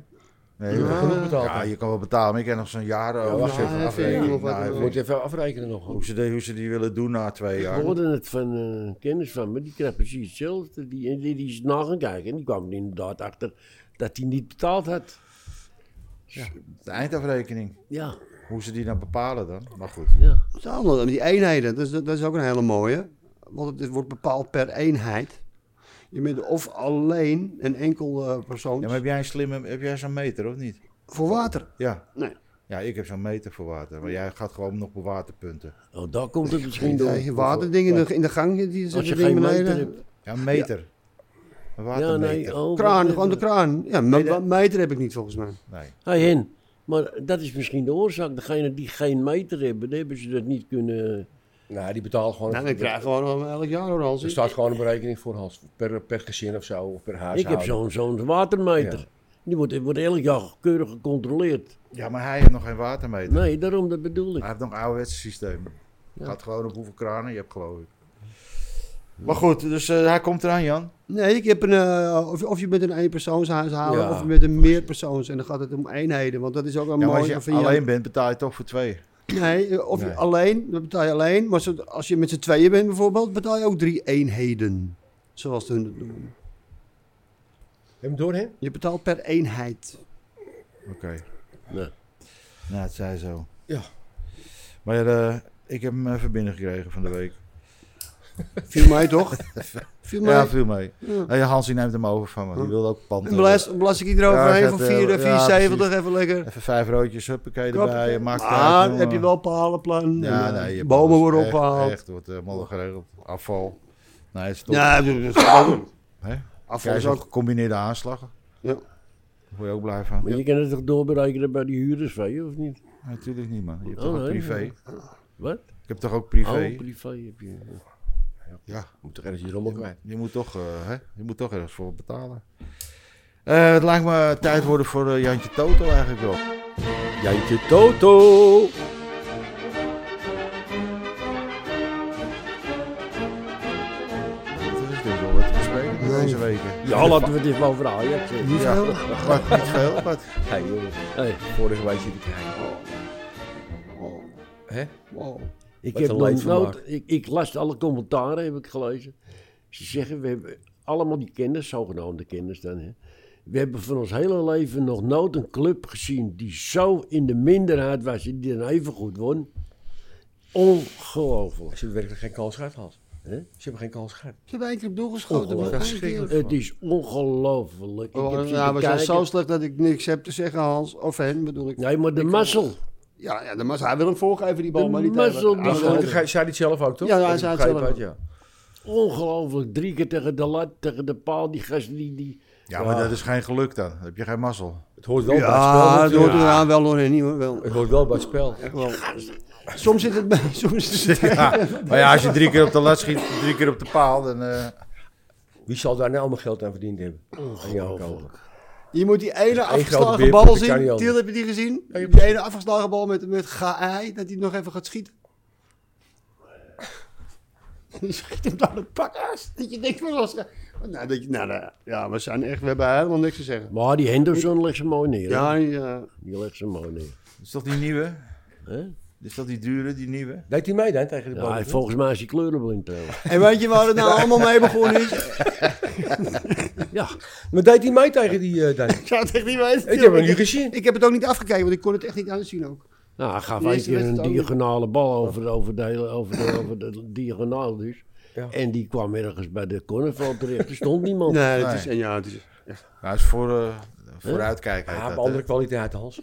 Speaker 1: Nee,
Speaker 4: Je
Speaker 1: je-
Speaker 4: hebt genoeg betaald.
Speaker 1: ja, je kan wel betalen, maar ik heb nog zo'n jaar eh,
Speaker 4: Ja, wacht
Speaker 1: over
Speaker 4: even,
Speaker 1: afrekening.
Speaker 3: even, of wat
Speaker 1: Nou,
Speaker 3: dan
Speaker 4: We
Speaker 1: ik
Speaker 3: ook.
Speaker 1: moet-
Speaker 4: moeten eh, even afrekenen nog.
Speaker 1: hoe, ze de- hoe ze die willen doen na twee
Speaker 5: Ik
Speaker 1: jaar.
Speaker 5: hoorde het van eh, een kennis van me, die kreeg precies hetzelfde. Die, die, die is nagekeken en die kwam er inderdaad achter dat hij niet betaald had.
Speaker 1: De eindafrekening.
Speaker 5: Ja,
Speaker 1: Hoe ze die dan bepalen dan. Maar goed.
Speaker 5: ja.
Speaker 3: Dat is allemaal- Die eenheden, dat is, dat is ook een hele mooie. Want het wordt bepaald per eenheid. Je bent of alleen een enkel eh, persoon
Speaker 1: Ja, maar heb jij een slimme, heb jij zo'n meter of niet?
Speaker 3: voor water.
Speaker 1: Ja.
Speaker 3: Nee.
Speaker 1: Ja, ik heb zo'n meter voor water. Maar jij gaat gewoon nog op waterpunten.
Speaker 5: Oh, daar komt het misschien
Speaker 3: Geen
Speaker 5: door.
Speaker 3: idee. waterdingen in de, in de gang, die
Speaker 5: Als je
Speaker 3: zetten
Speaker 5: geen
Speaker 3: dingen
Speaker 5: meter
Speaker 3: beneden.
Speaker 5: hebt.
Speaker 1: Ja, een meter. Een
Speaker 5: Ja,
Speaker 1: watermeter.
Speaker 5: nee. Oh,
Speaker 3: Kraan,
Speaker 5: wat-
Speaker 3: gewoon de kraan. Ja, me-
Speaker 1: Nee, dat-
Speaker 3: meter heb ik niet volgens mij.
Speaker 1: nee.
Speaker 5: Hey, Hen, maar dat is misschien de oorzaak. Degene die geen meter hebben, die hebben ze dat niet kunnen.
Speaker 4: Nou, die betalen gewoon.
Speaker 3: Nou, ik krijg gewoon elk jaar hoor,
Speaker 4: Er
Speaker 1: Dus
Speaker 3: Hans.
Speaker 4: staat gewoon een berekening voor Hans. Per, per gezin of zo, of per huishouden.
Speaker 5: ik heb zo'n zo'n watermeter.
Speaker 4: Ja.
Speaker 5: Die wordt, wordt elk jaar keurig gecontroleerd.
Speaker 1: Ja, maar hij heeft nog geen watermeter.
Speaker 5: Nee, daarom dat bedoel ik.
Speaker 1: Hij heeft nog een ouderwetse systeem. Gaat gewoon op hoeveel kranen je hebt, geloof ik. Maar goed, dus eh, hij komt eraan, Jan.
Speaker 3: Nee, ik heb een, eh, of, of je bent een eenpersoonshuishouden
Speaker 4: Ja.
Speaker 3: of je bent een meerpersoons. En dan gaat het om eenheden, want dat is ook een
Speaker 1: Ja, maar als
Speaker 3: mooie
Speaker 1: je
Speaker 3: van jou.
Speaker 1: alleen bent, betaal je toch voor twee.
Speaker 3: Nee, eh, of je
Speaker 4: Nee.
Speaker 3: alleen, dan betaal je alleen. Maar zo- als je met z'n tweeën bent bijvoorbeeld, betaal je ook drie eenheden. Zoals hun dat doen.
Speaker 4: Hem door, hè?
Speaker 3: Je betaalt per eenheid.
Speaker 1: Oké.
Speaker 5: Nee.
Speaker 1: Nou, het zij zo.
Speaker 4: Ja.
Speaker 1: Maar eh, ik heb hem even binnengekregen van de week.
Speaker 3: Viel mij toch? Viel mij.
Speaker 1: Ja, viel mee.
Speaker 3: Ja.
Speaker 1: Hey, Hansie neemt hem over van me. Die
Speaker 3: Hm.
Speaker 1: wilde ook pand.
Speaker 3: En belast, belast ik iedereen
Speaker 1: Ja,
Speaker 3: overheen
Speaker 1: zet,
Speaker 3: van
Speaker 1: eh,
Speaker 3: 4
Speaker 1: ja,
Speaker 3: 470 even lekker.
Speaker 1: Even vijf roodjes, huppakee
Speaker 3: Knap.
Speaker 1: erbij. Maakt het uit,
Speaker 3: Maar
Speaker 1: jongen.
Speaker 3: Ah, heb je wel palenplan?
Speaker 1: Ja,
Speaker 3: en, eh,
Speaker 1: nee, je hebt
Speaker 3: bomen
Speaker 1: alles.
Speaker 3: worden
Speaker 1: Echt,
Speaker 3: opgehaald.
Speaker 1: Echt, wordt eh, modder geregeld. Afval. Nee, het is toch...
Speaker 3: Ja, dus- dat is ook.
Speaker 1: Hè?
Speaker 3: Afval
Speaker 1: Krijg
Speaker 3: is
Speaker 1: je ook
Speaker 3: ook.
Speaker 1: gecombineerde aanslagen.
Speaker 3: Ja.
Speaker 1: Daar word je ook blij van.
Speaker 5: Maar je kan het toch doorberekenen bij die huurders van je, of niet?
Speaker 1: Natuurlijk niet, man. Je hebt
Speaker 5: Oh,
Speaker 1: toch ook
Speaker 5: nee,
Speaker 1: privé?
Speaker 5: nee. Wat?
Speaker 1: Ik heb toch ook privé?
Speaker 5: Oh, privé heb je.
Speaker 1: ja,
Speaker 4: Moet toch ergens die rommel kwijt.
Speaker 1: je moet toch, eh, hè? je moet toch ergens voor betalen. Eh, het lijkt me tijd worden voor eh, Jantje Toto eigenlijk wel.
Speaker 4: Jantje Toto!
Speaker 1: Dat is dus wel wat te bespreken deze weken.
Speaker 5: Ja, laten we dit maar over Ajax hebben.
Speaker 1: Ja, wat, niet veel, wat.
Speaker 4: Hey, jongens.
Speaker 5: Hey,
Speaker 4: Vorige week zit ik heen. Hè?
Speaker 3: Wow.
Speaker 5: ik,
Speaker 4: Wat
Speaker 5: heb
Speaker 4: een
Speaker 5: nog
Speaker 4: leedvermaak.
Speaker 5: nooit, ik, ik las alle commentaren, heb ik gelezen. Ze zeggen, we hebben allemaal die kennis, zogenaamde kennis dan. Hè. We hebben van ons hele leven nog nooit een club gezien die zo in de minderheid was en die dan even goed won. ongelooflijk.
Speaker 4: Ze hebben werkelijk geen kans gehad, Hans.
Speaker 5: Hè?
Speaker 4: Ze hebben geen kans gehad.
Speaker 3: Ze hebben één keer op doel geschoten.
Speaker 5: Ongelooflijk.
Speaker 3: maar
Speaker 4: Dat is
Speaker 3: één keer.
Speaker 4: verschrikkelijk.
Speaker 5: Het is ongelooflijk. Ik heb
Speaker 3: Oh,
Speaker 5: zitten
Speaker 3: nou, we zijn
Speaker 5: kijken.
Speaker 3: zo slecht dat ik niks heb te zeggen, Hans. Of hen bedoel ik.
Speaker 5: Nee, maar de mazzel.
Speaker 3: Ja, ja de mas, hij wil hem voorgeven, die bal,
Speaker 5: De
Speaker 3: maar niet Ah, hebben.
Speaker 5: mazzel die
Speaker 4: Maar
Speaker 5: Ja,
Speaker 4: goed,
Speaker 5: ja.
Speaker 4: hij zei dit zelf ook, toch?
Speaker 3: Ja, ja, hij
Speaker 4: Ik
Speaker 3: zei het
Speaker 4: begrijp
Speaker 3: zelf
Speaker 4: het,
Speaker 3: ook.
Speaker 4: ja.
Speaker 5: Ongelooflijk. Drie keer tegen de lat, tegen de paal. Die gast die... die
Speaker 1: Ja, maar dat is geen geluk dan. Dan heb je geen mazzel.
Speaker 4: Het hoort wel bij het spel.
Speaker 3: Ja, het hoort
Speaker 4: natuurlijk.
Speaker 3: er aan wel door niet hoor. Wel.
Speaker 4: Het hoort wel bij het spel.
Speaker 3: Echt wel. Soms zit het bij, soms is het
Speaker 1: Ja, Ah, maar ja, als je drie keer op de lat schiet, drie keer op de paal, dan... eh,
Speaker 4: Wie zal daar nou allemaal geld aan verdiend hebben? Ongelooflijk.
Speaker 3: Je moet die ene
Speaker 4: grote
Speaker 3: afgeslagen
Speaker 4: beer,
Speaker 3: bal
Speaker 4: dat kan niet
Speaker 3: zien.
Speaker 4: anders.
Speaker 3: Tiel, heb je die gezien?
Speaker 4: Ja, je-
Speaker 3: Die ene afgeslagen bal met, met Gaai, dat hij nog even gaat schieten. Die schiet hem dan een pak aas. Dat je denkt van, was, nou, dat je, nou, nou, ja, we zijn echt, we hebben helemaal niks te zeggen.
Speaker 5: Maar die Henderson legt ze mooi neer. hè?
Speaker 3: Ja, ja.
Speaker 5: Die legt ze mooi neer.
Speaker 1: is dat die nieuwe?
Speaker 5: Hè?
Speaker 1: Is dat die dure, die nieuwe?
Speaker 4: Deed hij mee dan tegen de
Speaker 5: Ja,
Speaker 4: bal?
Speaker 5: hij- volgens mij is hij kleurenblind trouwens.
Speaker 3: En weet je waar het nou allemaal mee begonnen is?
Speaker 5: Ja,
Speaker 4: maar deed hij mee tegen die eh dan?
Speaker 3: Ik zou het echt niet weten.
Speaker 4: Ik heb hem niet gezien.
Speaker 3: Ik heb het ook niet afgekeken, want ik kon het echt niet uitzien ook.
Speaker 5: nou, hij gaf
Speaker 3: Die
Speaker 5: één
Speaker 3: eerste
Speaker 5: keer een
Speaker 3: wedstrijd ook niet.
Speaker 5: diagonale bal over, over, de, hele- over, de, over de diagonaal dus.
Speaker 4: Ja.
Speaker 5: En die kwam ergens bij de cornerveld terecht. Er stond niemand.
Speaker 4: Oh,
Speaker 3: Nee,
Speaker 1: Nee.
Speaker 3: het is, en ja, het is,
Speaker 1: Nou, is voor, eh, vooruitkijken.
Speaker 4: Ja,
Speaker 1: heet
Speaker 4: maar
Speaker 1: dat, eh,
Speaker 4: andere
Speaker 1: hè?
Speaker 4: kwaliteit, Hans.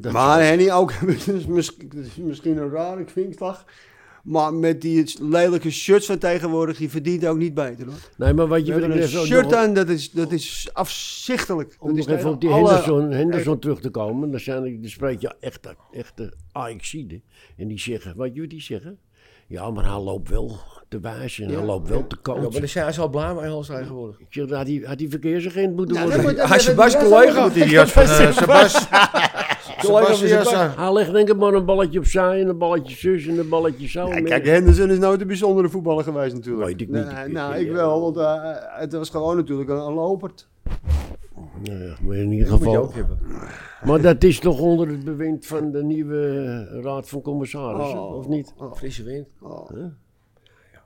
Speaker 5: Dat-
Speaker 3: Maar Henny ook, het is misschien, het is misschien een rare kwinkslag. Maar met die lelijke shirts van tegenwoordig, die verdient ook niet beter hoor.
Speaker 5: nee, maar wat
Speaker 3: Je
Speaker 5: je
Speaker 3: hebt een
Speaker 5: betreft...
Speaker 3: shirt aan, dat is, dat is afzichtelijk.
Speaker 5: Om
Speaker 3: Dat is
Speaker 5: nog even
Speaker 3: tegen
Speaker 5: op die
Speaker 3: alle-
Speaker 5: Henderson, Henderson terug te komen, dan, zijn, er- dan spreek je echte, echte AXI'den. En die zeggen, wat jullie zeggen? Ja, maar hij loopt wel te wijzen en hij loopt wel te
Speaker 4: Ja, maar
Speaker 5: coachen.
Speaker 4: dan zijn ze al blij mee, Hans, tegenwoordig.
Speaker 5: Ik zeg, Had die, had die verkeersagent moeten
Speaker 3: Nou,
Speaker 5: worden.
Speaker 3: dat moet-
Speaker 4: Hij is je best
Speaker 3: dat-
Speaker 4: collega.
Speaker 1: Die jas van eh, Sebas- Sebastian.
Speaker 4: Sebastian.
Speaker 1: Sa-
Speaker 5: Hij legt denk ik maar een balletje opzij en een balletje zus en een balletje zo.
Speaker 3: Ja,
Speaker 5: En-
Speaker 3: kijk, Henderson is nooit een bijzondere voetballer geweest natuurlijk.
Speaker 5: Weet ik niet.
Speaker 3: Nee,
Speaker 5: Ik-
Speaker 3: nou,
Speaker 5: ik-
Speaker 3: ik wel, want eh, het was gewoon natuurlijk een, een lopert.
Speaker 5: Nou ja, maar in ieder
Speaker 4: Dat moet je ook
Speaker 5: geval.
Speaker 4: hebben.
Speaker 5: Maar dat is toch onder het bewind van de nieuwe eh, raad van commissarissen,
Speaker 3: Oh.
Speaker 5: of niet?
Speaker 4: Frisse wind.
Speaker 3: Oh.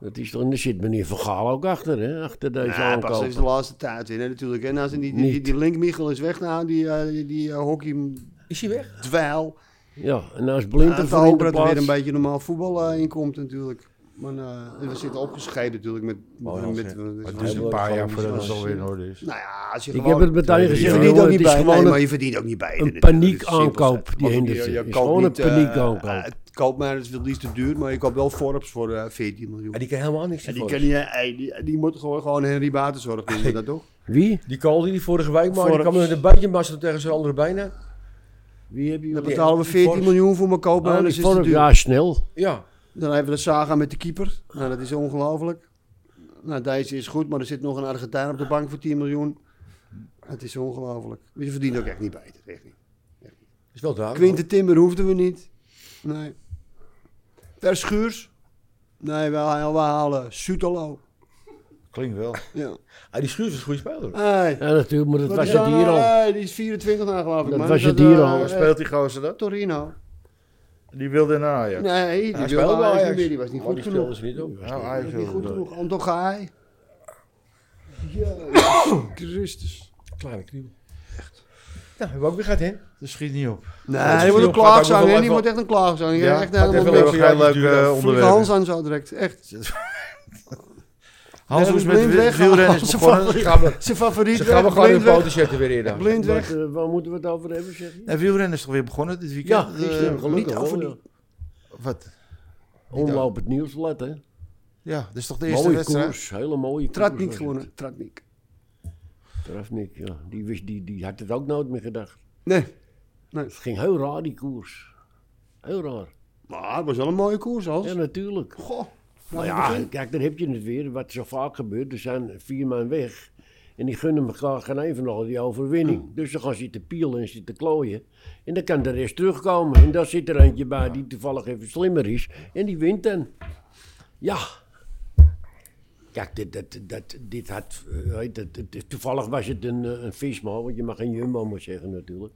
Speaker 5: Dat is toch, en daar zit meneer Van Gaal ook achter, hè? Achter deze
Speaker 3: Ja, pas
Speaker 5: aankoop.
Speaker 3: even de laatste tijd in hè, natuurlijk. En als die, die, die,
Speaker 5: Niet.
Speaker 3: die Link Michel is weg nou, die, eh, die, die eh, hockey
Speaker 4: Is hij weg?
Speaker 3: dweil.
Speaker 5: Ja, en nou is Blind
Speaker 3: Ja,
Speaker 5: er
Speaker 3: te
Speaker 5: voor in
Speaker 3: hopen
Speaker 5: de
Speaker 3: dat er weer een
Speaker 5: plaats.
Speaker 3: beetje normaal voetbal eh, in komt natuurlijk. Maar eh, we zitten opgescheiden natuurlijk met...
Speaker 4: Oh, ja,
Speaker 3: met,
Speaker 4: zeg.
Speaker 3: met-
Speaker 1: Het
Speaker 4: is
Speaker 1: is een paar jaar voordat het
Speaker 4: Sebastian.
Speaker 1: alweer in orde is.
Speaker 3: nou ja, als je
Speaker 5: Ik heb
Speaker 3: gewoon-
Speaker 5: het meteen
Speaker 3: Je
Speaker 5: gezegd.
Speaker 3: verdient ook
Speaker 5: jongen,
Speaker 3: niet
Speaker 5: het is
Speaker 3: bij, nee,
Speaker 5: gewoon
Speaker 3: maar
Speaker 5: een,
Speaker 3: je verdient ook niet bij.
Speaker 5: een
Speaker 3: Dit- dit is
Speaker 5: paniekaankoop,
Speaker 3: simpel
Speaker 5: die
Speaker 3: gezegd.
Speaker 5: Henderson.
Speaker 3: Je- je
Speaker 5: Is
Speaker 3: koopt
Speaker 5: gewoon een
Speaker 3: niet, eh,
Speaker 5: paniekaankoop.
Speaker 3: eh, Het koopt maar, het is wel liefst te duur, maar je koopt wel Forbes voor eh, 14 miljoen.
Speaker 4: En die kan helemaal niks
Speaker 3: En die,
Speaker 4: ervoor.
Speaker 3: kan niet, eh, die, die moet gewoon, gewoon Henry Batenzorg doen, dat toch?
Speaker 5: Wie?
Speaker 4: Die kool die die vorige week maar die
Speaker 3: Forbes.
Speaker 4: kwam met een beetje massa tegen zijn andere bijna.
Speaker 5: Wie heb je?
Speaker 3: Dan
Speaker 5: Oh,
Speaker 3: betalen we 14
Speaker 4: Forbes.
Speaker 3: miljoen voor mijn koopman,
Speaker 5: die
Speaker 3: dus is te
Speaker 5: vorm-
Speaker 3: duur.
Speaker 5: Oh, ja, snel.
Speaker 4: Ja.
Speaker 3: Dan hebben we de Saga met de keeper. Nou, dat is ongelooflijk. Nou, deze is goed, maar er zit nog een Argentijn op de bank voor 10 miljoen. Het is ongelooflijk. Je verdient ook echt niet bij. Echt niet.
Speaker 4: Is wel duidelijk.
Speaker 3: Quinten Timber hoefden we niet. Nee. Verschuurs. Nee, we halen, we halen Sutalo.
Speaker 1: Klinkt wel.
Speaker 3: Ja.
Speaker 4: Ah, die schuur is een goede speler.
Speaker 3: Hey.
Speaker 5: Ja, natuurlijk, maar dat
Speaker 3: Wat
Speaker 5: was
Speaker 3: is
Speaker 5: het
Speaker 3: dan-
Speaker 5: hier al.
Speaker 3: Hey, die is 24 nou, geloof ik.
Speaker 5: Dat
Speaker 3: man.
Speaker 5: was
Speaker 3: Is
Speaker 5: het
Speaker 3: dat,
Speaker 5: hier
Speaker 3: eh,
Speaker 5: al.
Speaker 1: Waar
Speaker 3: eh,
Speaker 1: speelt die gozer dat?
Speaker 3: Torino.
Speaker 1: Die wilde naar Ajax.
Speaker 3: Nee, die
Speaker 4: Hij
Speaker 3: wilde
Speaker 4: speelde bij
Speaker 3: Ajax
Speaker 4: Ajax.
Speaker 3: niet meer. Die was niet
Speaker 5: Oh,
Speaker 4: Maar
Speaker 3: goed
Speaker 4: die
Speaker 3: genoeg.
Speaker 4: speelde ze niet op.
Speaker 1: Nou,
Speaker 3: Dat
Speaker 1: Ajax
Speaker 3: is niet goed
Speaker 1: wilde door.
Speaker 3: genoeg. Anton Gaai. Christus.
Speaker 4: Kleine knieuw. Echt. Nou, hebben we ook weer gehad, hè?
Speaker 1: Dat schiet niet op.
Speaker 3: Nee, die
Speaker 4: is
Speaker 3: wordt een
Speaker 4: heel apart, maar
Speaker 3: klaagzang,
Speaker 4: ik wil
Speaker 3: hè? Die
Speaker 4: even-
Speaker 3: wordt echt een klaagzang. Ja, echt
Speaker 1: gaat even
Speaker 4: een
Speaker 3: helemaal
Speaker 1: wel
Speaker 3: niks.
Speaker 4: beetje
Speaker 1: geen leuk
Speaker 4: duur,
Speaker 1: eh,
Speaker 4: eh,
Speaker 3: Vliegen Hans
Speaker 1: onderwerp.
Speaker 3: aan zo direct, echt.
Speaker 1: Hans Hoes met
Speaker 3: Blind
Speaker 1: wi-
Speaker 3: weg,
Speaker 1: wielrennen is
Speaker 3: Hans
Speaker 1: begonnen.
Speaker 4: Ze gaan we,
Speaker 3: Zijn favoriet
Speaker 4: ze gaan we
Speaker 3: weg,
Speaker 4: gewoon
Speaker 3: blind
Speaker 4: hun
Speaker 3: weg,
Speaker 4: poten zetten weer in. dan.
Speaker 3: blind
Speaker 5: Wat,
Speaker 3: weg.
Speaker 5: eh, waar moeten we het over hebben, zeg je?
Speaker 1: En wielrennen is toch weer begonnen dit weekend?
Speaker 5: Ja,
Speaker 1: Eh,
Speaker 5: gisteren, gelukkig.
Speaker 1: niet
Speaker 5: wel,
Speaker 1: over
Speaker 5: ja.
Speaker 1: die- Wat?
Speaker 5: Omloop het nieuws, let hè.
Speaker 1: Ja, dat is toch de eerste
Speaker 5: Mooie
Speaker 1: wedstrijd?
Speaker 5: koers, hele mooie koers.
Speaker 3: Tratnik
Speaker 5: was het.
Speaker 3: gewonnen, Tratnik.
Speaker 5: Tratnik, ja. Die, wist, die, die had het ook nooit meer gedacht.
Speaker 3: Nee.
Speaker 5: Het ging heel raar, die koers. Heel raar.
Speaker 3: Maar het was wel een mooie koers, Hans.
Speaker 5: Ja, natuurlijk.
Speaker 3: Goh.
Speaker 5: Nou ja, kijk, daar heb je het weer. Wat zo vaak gebeurt, er zijn vier man weg. En die gunnen elkaar geen een van al die overwinning. Dus dan gaan ze te pielen en zitten klooien. En dan kan de rest terugkomen. En dan zit er eentje bij die toevallig even slimmer is. En die wint dan. Ja. Kijk, dit, dat, dat, dit had... eh, Weet het, het- het- toevallig was het een, eh, een visma, want je mag geen jumbo maar zeggen natuurlijk.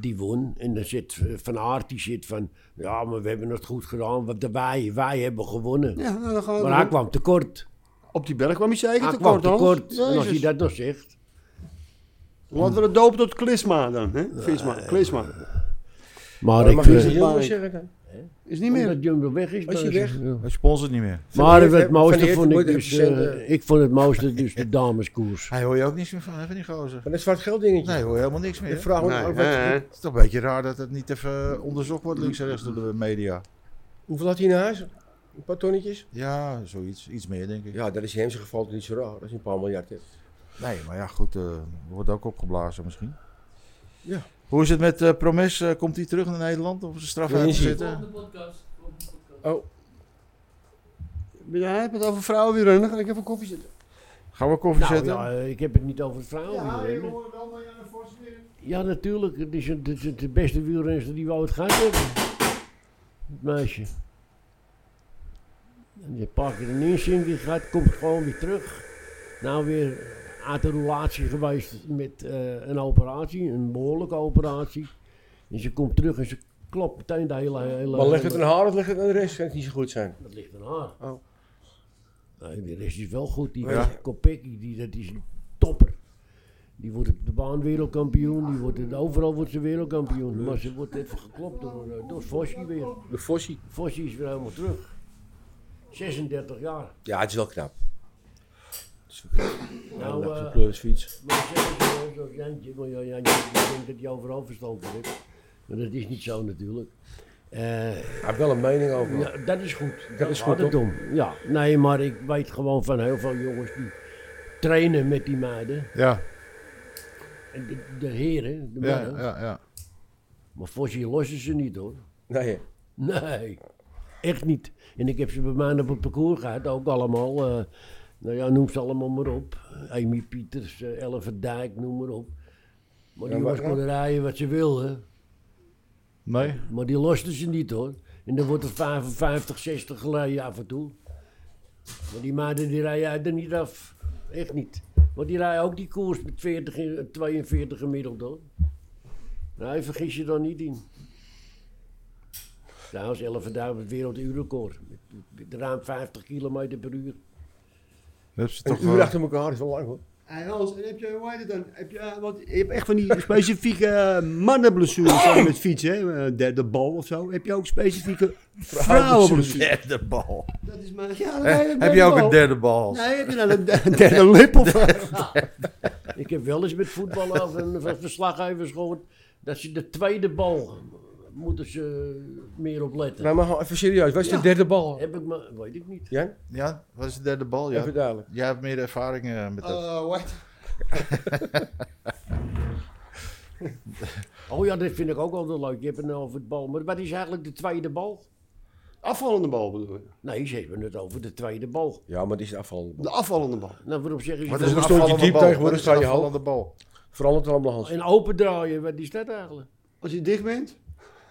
Speaker 5: Die won. En dan zit eh, Van Aert, die zit van... Ja, maar we hebben het goed gedaan, want de wij, wij hebben gewonnen.
Speaker 3: Ja, nou, dan gaan we
Speaker 5: Maar hij
Speaker 3: door.
Speaker 5: kwam tekort.
Speaker 3: Op die berg kwam hij
Speaker 5: Hij
Speaker 3: zeker
Speaker 5: kwam
Speaker 3: tekort, Hans.
Speaker 5: tekort. En als
Speaker 3: Jezus.
Speaker 5: hij dat nog zegt.
Speaker 3: Laten we het dopen tot Klisma dan, hè? Visma, Klisma.
Speaker 5: Maar
Speaker 4: Maar
Speaker 5: ik eh,
Speaker 4: mag je ze
Speaker 3: eh,
Speaker 5: vind,
Speaker 4: jongens zeggen dan?
Speaker 3: Is niet meer.
Speaker 5: Omdat Jumbo weg is.
Speaker 4: Als je
Speaker 5: maar-
Speaker 4: weg-
Speaker 5: Ja.
Speaker 1: Hij sponsort niet meer.
Speaker 5: Maar
Speaker 4: Van Eert
Speaker 5: het
Speaker 4: heb- Van
Speaker 5: mooiste
Speaker 4: Eert
Speaker 5: vond ik
Speaker 4: moet
Speaker 5: dus...
Speaker 4: even
Speaker 5: eh,
Speaker 4: zenden.
Speaker 5: ik vond het mooiste dus de dameskoers.
Speaker 1: Hij hoor je ook niets meer van, hè, van die gozer.
Speaker 4: Van een zwart geld dingetje.
Speaker 1: Nee, hoor je helemaal niks meer.
Speaker 4: Ik
Speaker 1: hè?
Speaker 4: vraag me
Speaker 3: Nee,
Speaker 4: af,
Speaker 3: hè, hè.
Speaker 4: wat,
Speaker 1: Het is toch een beetje raar dat het niet even eh, onderzocht wordt links en rechts door de media.
Speaker 4: hoeveel had hij in huis? Een paar tonnetjes?
Speaker 1: Ja, zoiets. Iets meer, denk ik.
Speaker 4: Ja, dat is in zijn geval toch niet zo raar. Dat is een paar miljard. Heeft.
Speaker 1: Nee, maar ja, goed. eh wordt ook opgeblazen misschien.
Speaker 4: Ja.
Speaker 1: Hoe is het met eh, Promes? Eh, komt hij terug naar Nederland of is de straf
Speaker 4: Ja, die is hier.
Speaker 1: uitgezitten?
Speaker 6: Volgende podcast. Volgende podcast.
Speaker 4: Oh,
Speaker 3: Ja, hij hebt het over vrouwen weer Dan ga ik even een koffie zetten.
Speaker 1: Gaan we koffie
Speaker 5: Nou
Speaker 1: zetten?
Speaker 5: ja, eh, ik heb het niet over vrouwen. wielrennen.
Speaker 3: hoort wel naar Janne Vos weer.
Speaker 5: Ja, natuurlijk. Het is, het is het- de beste wielrenster die we ooit gehad hebben. Het meisje. En je pakt er een inzinking gaat, komt gewoon weer terug. Nou weer uit de relatie geweest met eh, een operatie, een behoorlijke operatie. En ze komt terug en ze klopt meteen de hele... hele
Speaker 4: maar ligt het aan haar of ligt het aan de rest? Kan het niet zo goed zijn.
Speaker 5: Dat ligt aan haar.
Speaker 4: Oh.
Speaker 5: Nee, de rest is wel goed. Die
Speaker 1: Ja.
Speaker 5: Kopecky, die, dat is een topper. Die wordt op de baan wereldkampioen. Die wordt, in- overal wordt ze wereldkampioen. Maar ze wordt even geklopt door, eh, door Fossi weer.
Speaker 4: De Fossi.
Speaker 5: Fossi is weer helemaal terug. 36 jaar.
Speaker 4: Ja, het is wel knap.
Speaker 5: Nou,
Speaker 4: dat is een
Speaker 5: eh
Speaker 4: pleurisfiets.
Speaker 5: maar zeggen ze wel zo'n Jantje, maar ja, Jantje, ik denk dat hij overal verstand van heeft. Maar dat is niet zo natuurlijk. Eh,
Speaker 4: Hij heeft wel een mening over.
Speaker 5: Ja, dat is goed. Dat,
Speaker 4: is
Speaker 5: is
Speaker 4: goed,
Speaker 5: goed. om. Ja, nee, maar ik weet gewoon van heel veel jongens die trainen met die meiden.
Speaker 1: Ja,
Speaker 5: En de, de heren, de
Speaker 1: ja,
Speaker 5: mannen.
Speaker 1: ja. ja.
Speaker 5: Maar Fossi lossen ze niet hoor.
Speaker 4: Nee.
Speaker 5: Nee, echt niet. En ik heb ze bij mij op het parcours gehad, ook allemaal. eh, nou ja, noem ze allemaal maar op. Amy Pieters, eh, Elle Verdijk, noem maar op. Maar die
Speaker 4: Ja, maar-
Speaker 5: jongens konden rijden wat ze wilden.
Speaker 1: Nee?
Speaker 5: Maar die losten ze niet hoor. En dan wordt er 55, 60 geleden af en toe. Maar die maanden die rijden er niet af. Echt niet. Want die rijden ook die koers met 40, in- 42 gemiddeld hoor. Nou, vergis je dan niet in. Trouwens, 11 dagen het werelduurrecord. Met, met ruim 50 kilometer per uur.
Speaker 1: Dat is
Speaker 4: Een
Speaker 1: toch
Speaker 4: uur
Speaker 1: wel...
Speaker 4: achter elkaar is wel lang hoor.
Speaker 3: En Hans, en heb je, hoe heet het dan? Heb je, eh, want je hebt echt van die specifieke eh, mannenblessures zo met fietsen, hè? Eh, derde bal of zo. Heb je ook specifieke vrouwenblessures?
Speaker 1: derde bal.
Speaker 3: Dat is maar, ja, dat
Speaker 1: Eh,
Speaker 3: weet ik
Speaker 1: heb
Speaker 3: wel.
Speaker 1: je ook een derde bal?
Speaker 3: Nee, heb je dan een de- derde lip of
Speaker 5: Ik heb wel eens met voetballen of een ver- verslaggevers gehoord. dat ze de tweede bal. moeten ze meer op letten.
Speaker 4: Nou, maar even serieus. Wat is de
Speaker 3: Ja.
Speaker 4: derde bal?
Speaker 5: Heb ik maar, weet ik niet.
Speaker 4: Jan,
Speaker 1: Ja, wat is de derde bal? Ja.
Speaker 4: even duidelijk.
Speaker 1: Jij hebt meer ervaring eh, met dat.
Speaker 3: Eh, wat?
Speaker 5: Oh ja, dat vind ik ook altijd leuk. Je hebt het nou over het bal. Maar wat is eigenlijk de tweede bal?
Speaker 3: Afvallende bal bedoel je?
Speaker 5: Nee, ze hebben het over de tweede bal.
Speaker 4: Ja, maar die is de afvallende bal.
Speaker 3: De afvallende bal.
Speaker 5: Nou, waarop zeggen ze...
Speaker 1: Wat is een
Speaker 4: Vroeger stond je
Speaker 1: afvallende
Speaker 4: diep
Speaker 1: bal?
Speaker 4: tegenwoordig
Speaker 1: Wat is
Speaker 4: sta
Speaker 1: een
Speaker 4: je hoog.
Speaker 1: afvallende bal?
Speaker 4: Vooral het allemaal Hans.
Speaker 5: Een open draaien, wat is dat eigenlijk?
Speaker 3: Als je dicht bent,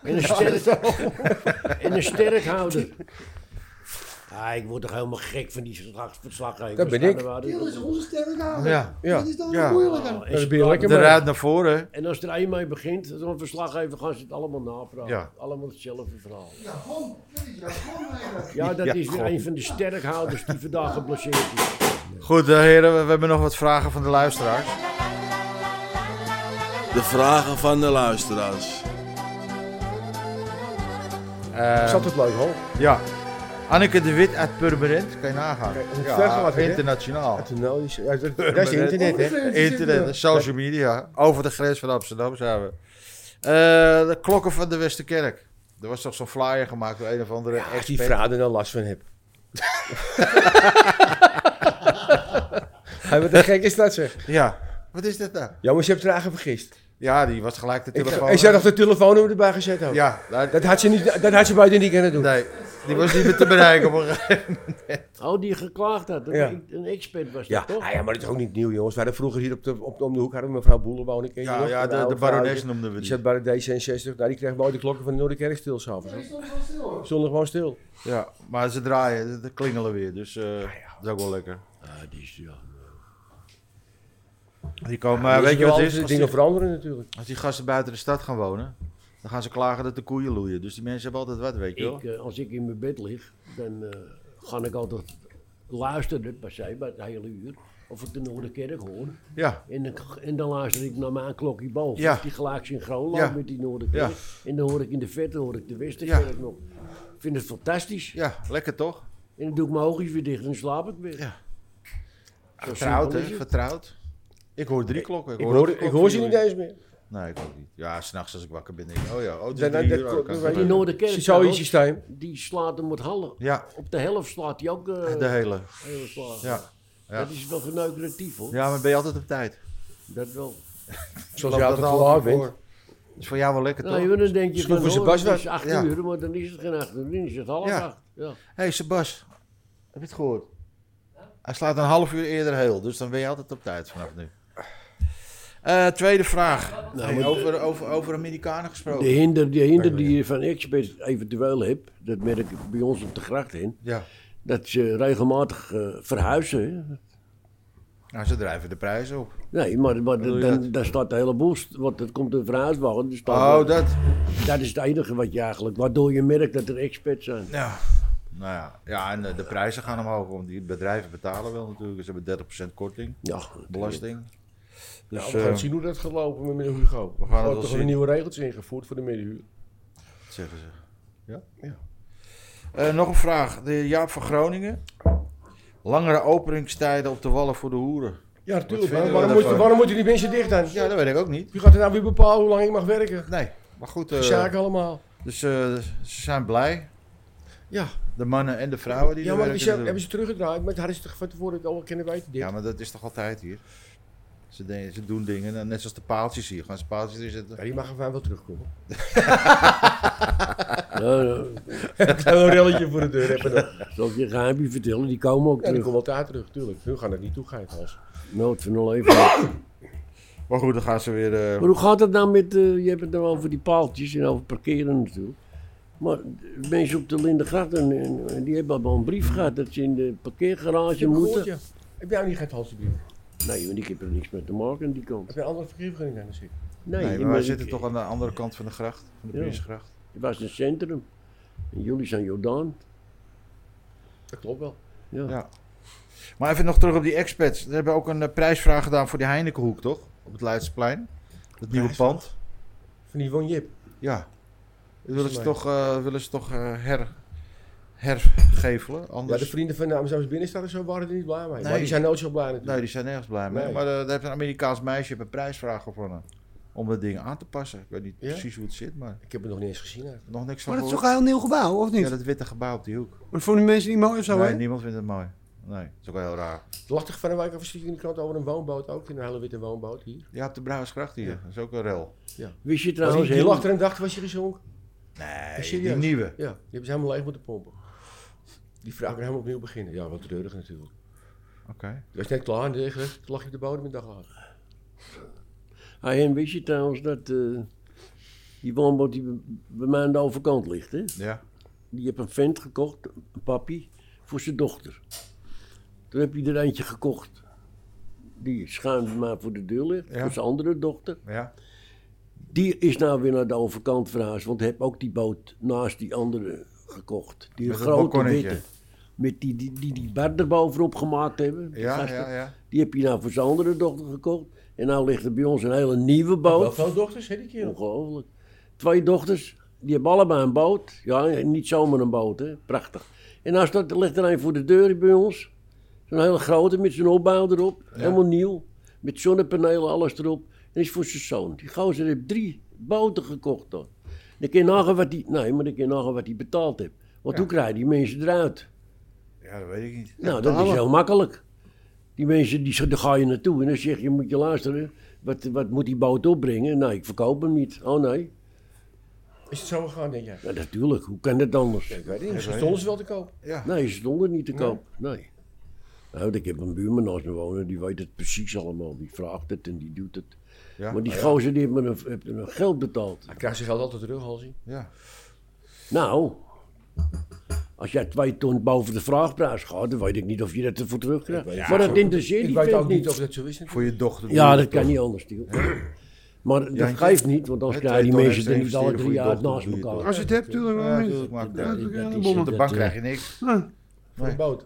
Speaker 5: En een sterk, en een sterk houden. Ah, ik word toch helemaal gek van die verslag- verslaggevers.
Speaker 4: Dat ben ik.
Speaker 3: Tiel is onze sterke naam.
Speaker 1: Ja.
Speaker 4: Ja.
Speaker 3: Dat is dan
Speaker 1: Ja.
Speaker 3: moeilijk
Speaker 5: Oh,
Speaker 3: aan.
Speaker 4: Dat ben je lekker
Speaker 1: De
Speaker 4: mee.
Speaker 1: ruit naar voren.
Speaker 5: En als er één mee begint, zo'n verslaggever, gaan ze het allemaal navragen.
Speaker 1: Ja.
Speaker 5: Allemaal hetzelfde verhaal.
Speaker 3: Ja, gewoon. Dat is ja, gewoon eigenlijk.
Speaker 5: Ja, dat
Speaker 1: Ja,
Speaker 5: is weer
Speaker 1: God.
Speaker 5: een van de sterkhouders die vandaag geblesseerd is.
Speaker 1: Goed, eh, heren, we, we hebben nog wat vragen van de luisteraars.
Speaker 7: De vragen van de luisteraars.
Speaker 1: Eh,
Speaker 4: Dat is altijd leuk hoor.
Speaker 1: ja. Anneke de Wit uit Purmerend, kan je nagaan.
Speaker 4: Kijk, hoe ver
Speaker 1: Ja,
Speaker 4: gaat het, hè?
Speaker 1: internationaal.
Speaker 4: Dat is nou iets- ja, dat- dat is internet hè.
Speaker 1: Oh, Internet, social media, over de grens van Amsterdam zijn we. Eh, de klokken van de Westerkerk. Er was toch zo'n flyer gemaakt door een of andere
Speaker 4: Ja, Als die
Speaker 1: expert.
Speaker 4: vrouw er nou last van hebt. Hij wordt een gek is dat zeg.
Speaker 1: Ja, wat is dit nou?
Speaker 4: Ja, maar ze hebt er eigenlijk vergist.
Speaker 1: Ja, die was gelijk de
Speaker 4: Ik-
Speaker 1: telefoon.
Speaker 4: En ze had nog de telefoonnummer erbij gezet ook.
Speaker 1: Ja, nou,
Speaker 4: Dat had ze, niet, dat had ze buiten niet kunnen doen.
Speaker 1: nee, die was niet meer te bereiken. op een gegeven moment.
Speaker 5: Oh, die geklaagd had. Een,
Speaker 4: Ja.
Speaker 5: een expert was dat,
Speaker 4: Ja,
Speaker 5: toch?
Speaker 4: ah ja, maar dat is ook niet nieuw, jongens. We hadden vroeger hier op de, op, om de hoek hadden we mevrouw Boelen wonen. ken je
Speaker 1: Ja,
Speaker 4: nog?
Speaker 1: ja
Speaker 4: Een
Speaker 1: de,
Speaker 4: oude
Speaker 1: de barones
Speaker 4: vrouwtje.
Speaker 1: noemden we
Speaker 4: Die
Speaker 1: die.
Speaker 4: zat bij de D66. Nou, die kreeg mooi de klokken van de Noorderkerk stil s'avonds.
Speaker 6: Stond wel stil hoor.
Speaker 4: Zondag gewoon stil.
Speaker 1: Ja, maar ze draaien, ze klingelen weer. Dus eh, dat is ook wel lekker.
Speaker 5: Ah, die is, ja.
Speaker 1: Die komen, maar weet je wat het dus is? Als
Speaker 4: Dingen
Speaker 1: die,
Speaker 4: veranderen natuurlijk.
Speaker 1: als die gasten buiten de stad gaan wonen, dan gaan ze klagen dat de koeien loeien. Dus die mensen hebben altijd wat, weet je wel.
Speaker 5: Ik, eh, als ik in mijn bed lig, dan eh, ga ik altijd luisteren, per se, maar het hele uur. Of ik de Noorderkerk hoor.
Speaker 1: Ja,
Speaker 5: En dan, en dan luister ik naar mijn klokje boven.
Speaker 1: Ja.
Speaker 5: Of Die gelijk synchroon loopt
Speaker 1: Ja.
Speaker 5: met die Noorderkerk. En dan hoor ik in de verte hoor ik de Westerkerk nog. vind het fantastisch.
Speaker 1: Ja, lekker toch?
Speaker 5: En dan doe ik mijn oogjes weer dicht en slaap ik weer.
Speaker 1: Ja.
Speaker 5: Zo
Speaker 1: Vertrouwd,
Speaker 5: simpel
Speaker 1: hè?
Speaker 5: is het.
Speaker 1: Vertrouwd. Ik hoor drie klokken.
Speaker 4: Ik hoor,
Speaker 1: ook een
Speaker 4: ik
Speaker 1: klok
Speaker 4: hoor ze
Speaker 1: vier
Speaker 4: niet
Speaker 1: uur.
Speaker 4: eens meer.
Speaker 1: Nee, ik ook niet. Ja, s'nachts als ik wakker ben, denk ik, oh ja, oh, het is
Speaker 4: Nee, nee,
Speaker 1: drie
Speaker 4: dat
Speaker 1: uur, oh,
Speaker 4: klopt,
Speaker 1: kan
Speaker 4: dat
Speaker 1: het
Speaker 4: weet
Speaker 5: Die
Speaker 1: gebeuren.
Speaker 5: Noorderkerk,
Speaker 4: Zo is
Speaker 5: trouwens,
Speaker 4: het systeem.
Speaker 5: die slaat hem met hallen.
Speaker 1: Ja,
Speaker 5: Op de helft slaat hij ook. eh,
Speaker 1: de hele.
Speaker 5: heel slaat.
Speaker 1: Ja. ja.
Speaker 5: Dat is wel geneukeratief hoor.
Speaker 1: Ja, maar ben je altijd op tijd?
Speaker 5: Dat wel.
Speaker 1: Ik
Speaker 4: Zoals je
Speaker 1: loop
Speaker 4: altijd
Speaker 1: dat al
Speaker 4: klaar
Speaker 1: voor.
Speaker 4: bent.
Speaker 1: Dat is voor jou wel lekker, toch?
Speaker 5: Nou, dan denk je
Speaker 4: Sloegen
Speaker 5: van,
Speaker 4: ze
Speaker 5: hoor,
Speaker 4: Bas
Speaker 5: het is
Speaker 4: weg?
Speaker 5: acht
Speaker 1: Ja.
Speaker 5: uur, maar dan is het geen acht uur, dan is het half
Speaker 1: Ja. Oh.
Speaker 5: acht. Ja.
Speaker 1: Hé, hey, Sebas. Heb je het gehoord? Hij slaat een half uur eerder heel, dus dan ben je altijd op tijd vanaf nu. Eh, tweede vraag.
Speaker 4: Nou,
Speaker 1: Hey, over, over, over Amerikanen
Speaker 5: De
Speaker 1: gesproken.
Speaker 5: hinder, de hinder die je van expert eventueel hebt, dat merk ik bij ons op de gracht in,
Speaker 1: Ja.
Speaker 5: dat ze regelmatig eh, verhuizen. hè.
Speaker 1: Nou, ze drijven de prijzen op.
Speaker 5: Nee, maar, maar
Speaker 1: bedoel je
Speaker 5: dan,
Speaker 1: dat?
Speaker 5: dan staat de hele boel, st- want het komt een verhuiswagen. Dus
Speaker 1: Oh, dat.
Speaker 5: dat is het enige wat je eigenlijk, waardoor je merkt dat er experts zijn.
Speaker 1: Ja. Nou ja, ja en eh, de prijzen gaan omhoog, want die bedrijven betalen wel natuurlijk. Ze hebben 30% korting,
Speaker 5: Ja,
Speaker 1: belasting.
Speaker 4: Nou,
Speaker 1: Dus,
Speaker 4: we gaan
Speaker 1: eh,
Speaker 4: zien hoe dat gaat lopen met meneer Hugo. We
Speaker 1: wel
Speaker 4: gaan toch
Speaker 1: zien.
Speaker 4: weer nieuwe regels ingevoerd voor de middenhuur.
Speaker 1: zeggen ze. Ja? ja. Eh, nog een vraag. De Jaap van Groningen. Langere openingstijden op de wallen voor de hoeren.
Speaker 4: Ja,
Speaker 1: vinden
Speaker 4: natuurlijk. Waarom,
Speaker 1: we
Speaker 4: waarom, moet,
Speaker 1: daarvan?
Speaker 4: waarom moeten die mensen dicht dan?
Speaker 1: Ja, dat weet ik ook niet.
Speaker 4: Wie gaat er nou weer bepalen hoe lang ik mag werken?
Speaker 1: Nee, maar goed. eh,
Speaker 4: Die zaken allemaal.
Speaker 1: dus eh, ze zijn blij.
Speaker 4: Ja.
Speaker 1: De mannen en de vrouwen die
Speaker 4: Ja,
Speaker 1: er
Speaker 4: maar
Speaker 1: werken
Speaker 4: die zijn-
Speaker 1: natuurlijk.
Speaker 4: hebben ze teruggedraaid, maar daar is het van tevoren het al kunnen weten. Dit.
Speaker 1: Ja, maar dat is toch altijd hier? Ze, de- ze doen dingen, en net zoals de paaltjes hier. Gaan ze paaltjes hier zitten?
Speaker 4: Ja, die mag van wel terugkomen.
Speaker 5: Nou,
Speaker 4: Ik ga wel een relletje voor de deur hebben. dan.
Speaker 5: zal ik je een geheimje vertellen, die komen ook
Speaker 4: Ja, die
Speaker 5: terug.
Speaker 4: komt altijd terug, tuurlijk. Nu gaan dat niet toe, gaan als.
Speaker 5: Nood van een leven.
Speaker 1: Maar goed, dan gaan ze weer... eh,
Speaker 5: Maar hoe gaat het nou met, eh, je hebt het nou over die paaltjes en over parkeren natuurlijk. Maar de mensen op de Lindegracht, en, en- en die hebben al een brief gehad dat ze in de parkeergarage moeten.
Speaker 4: ja. Heb jij niet geen Halsebrief?
Speaker 5: Nee, want ik heb er niks mee te maken aan die kant.
Speaker 4: Heb jij een andere verkeervergunning aan de zin?
Speaker 5: Nee,
Speaker 1: nee, maar
Speaker 5: maar
Speaker 1: wij
Speaker 5: ik-
Speaker 1: zitten toch aan de andere kant van de gracht. Van de
Speaker 5: Ja.
Speaker 1: Prinsgracht.
Speaker 5: Het was een centrum. En jullie zijn Jordaan.
Speaker 4: Dat klopt wel.
Speaker 5: Ja.
Speaker 1: Ja. Maar even nog terug op die expats. We hebben ook een eh, prijsvraag gedaan voor die Heinekenhoek, toch? Op het Leidseplein. Dat nieuwe
Speaker 4: Prijsvraag?
Speaker 1: pand.
Speaker 4: Van die Won Jip.
Speaker 1: Ja. Dat willen ze
Speaker 4: Mooi.
Speaker 1: toch, eh, willen ze toch eh, her, hergevelen?
Speaker 4: Ja,
Speaker 1: Anders...
Speaker 4: de vrienden van de Amsterdamse binnenstad en zo waren er niet blij mee. Maar
Speaker 1: Nee.
Speaker 4: die zijn nooit zo blij
Speaker 1: Nee,
Speaker 4: natuurlijk.
Speaker 1: die zijn nergens blij mee.
Speaker 4: Nee.
Speaker 1: Maar eh, daar heeft een Amerikaans meisje heeft een prijsvraag gewonnen. Om dat ding aan te passen. Ik weet niet
Speaker 4: Ja?
Speaker 1: precies hoe het zit, maar
Speaker 4: Ik heb het nog niet eens gezien. eigenlijk.
Speaker 1: nog niks van
Speaker 3: Maar dat is toch
Speaker 1: gehoord.
Speaker 3: een heel nieuw gebouw, of niet?
Speaker 1: Ja, dat witte gebouw op die hoek.
Speaker 3: Maar voor de mensen die mooi of zo,
Speaker 1: nee,
Speaker 3: hè?
Speaker 1: niemand vindt het mooi. Nee, dat is ook wel heel raar.
Speaker 4: Het lag toch van de wijk af een in de krant over een woonboot ook. In een hele witte woonboot hier.
Speaker 1: Ja, op de Brouwersgracht hier. Dat is ook een rel.
Speaker 5: Wist je
Speaker 4: Was
Speaker 5: trouwens...
Speaker 4: die, die
Speaker 5: heel-
Speaker 4: lag er en dacht, was je gezonken?
Speaker 1: Nee, die
Speaker 4: serieus?
Speaker 1: nieuwe.
Speaker 4: Ja, die hebben ze helemaal leeg moeten pompen. Die vraag kan helemaal opnieuw beginnen. Ja, wat treurig natuurlijk.
Speaker 1: Oké.
Speaker 4: Het was net klaar en de regen, toen lag je op de bodem een dag later.
Speaker 5: Ah, en wist je trouwens dat eh, die woonboot die bij- bij mij aan de overkant ligt, hè?
Speaker 1: Ja.
Speaker 5: Die heeft een vent gekocht, een papi, voor zijn dochter. Toen heb je er eentje gekocht. Die schuin maar voor de deur ligt,
Speaker 1: Ja.
Speaker 5: voor zijn andere dochter.
Speaker 1: Ja.
Speaker 5: Die is nou weer naar de overkant verhuisd, want heb ook die boot naast die andere gekocht. Die
Speaker 1: Met dat
Speaker 5: grote
Speaker 1: balkonnetje.
Speaker 5: witte. Met die, die, die, die bar erbovenop gemaakt hebben. die
Speaker 1: Ja,
Speaker 5: gasten.
Speaker 1: ja, ja.
Speaker 5: Die heb je nou voor zijn andere dochter gekocht. En nou ligt er bij ons een hele nieuwe
Speaker 4: Wel
Speaker 5: boot.
Speaker 4: veel dochters, hè, die kerel.
Speaker 5: Ongelooflijk. Twee dochters, die hebben allebei een boot. Ja, niet zomaar een boot, hè. Prachtig. En nou staat, ligt er een voor de deur bij ons. Zo'n hele grote met zijn opbouw erop. Helemaal nieuw. Met zonnepanelen, alles erop. En is voor zijn zoon. Die gozer heeft drie boten gekocht dan. Dan kun je nagaan wat hij... Nee, maar dan kun je nagaan wat hij betaald heeft. Want hoe krijgen die mensen eruit?
Speaker 1: Ja, dat weet ik niet.
Speaker 5: Nou, dat is heel makkelijk. Die mensen, die, daar ga je naartoe en dan zeg je, moet je luisteren, wat, wat moet die boot opbrengen? Nou, ik verkoop hem niet. Oh nee,
Speaker 4: Is het zo gegaan, denk jij?
Speaker 5: ja, natuurlijk, hoe kan dat anders?
Speaker 4: Ik weet het niet, ze stonden ze wel te koop.
Speaker 1: Ja.
Speaker 5: Nee, ze stonden niet te koop, nee. Nou, ik heb een buurman naast me wonen, die weet het precies allemaal. Die vraagt het en die doet het.
Speaker 1: Ja.
Speaker 5: maar die gozer, die heeft me een, heeft me een geld betaald.
Speaker 4: Hij krijgt zijn geld altijd terug, Halsey.
Speaker 1: Ja.
Speaker 5: Nou, als jij twee ton boven de vraagprijs gaat, dan weet ik niet of je dat ervoor terugkrijgt. maar dat interesseert
Speaker 4: Ik
Speaker 5: die
Speaker 4: weet
Speaker 5: vent
Speaker 4: ook niet of dat zo is. natuurlijk.
Speaker 1: Voor je dochter.
Speaker 5: Ja, dat kan niet anders, Tiel. Maar dat
Speaker 1: Jantje?
Speaker 5: geeft niet, want anders
Speaker 1: Hè,
Speaker 5: krijgen die
Speaker 1: twee ton
Speaker 5: mensen er
Speaker 1: extra
Speaker 5: niet
Speaker 1: investeren
Speaker 5: alle drie
Speaker 1: voor je
Speaker 5: jaar naast
Speaker 1: dochter, doe je
Speaker 5: elkaar.
Speaker 3: Als je het hebt, natuurlijk
Speaker 1: Ja,
Speaker 3: wel
Speaker 1: natuurlijk,
Speaker 3: mensen.
Speaker 1: maar
Speaker 5: Dat- dat-
Speaker 3: Ja,
Speaker 5: dat
Speaker 3: de
Speaker 5: is-
Speaker 3: bommen.
Speaker 1: Op de
Speaker 5: dat,
Speaker 1: bank
Speaker 5: eh,
Speaker 1: krijg je niks.
Speaker 4: Voor de boot.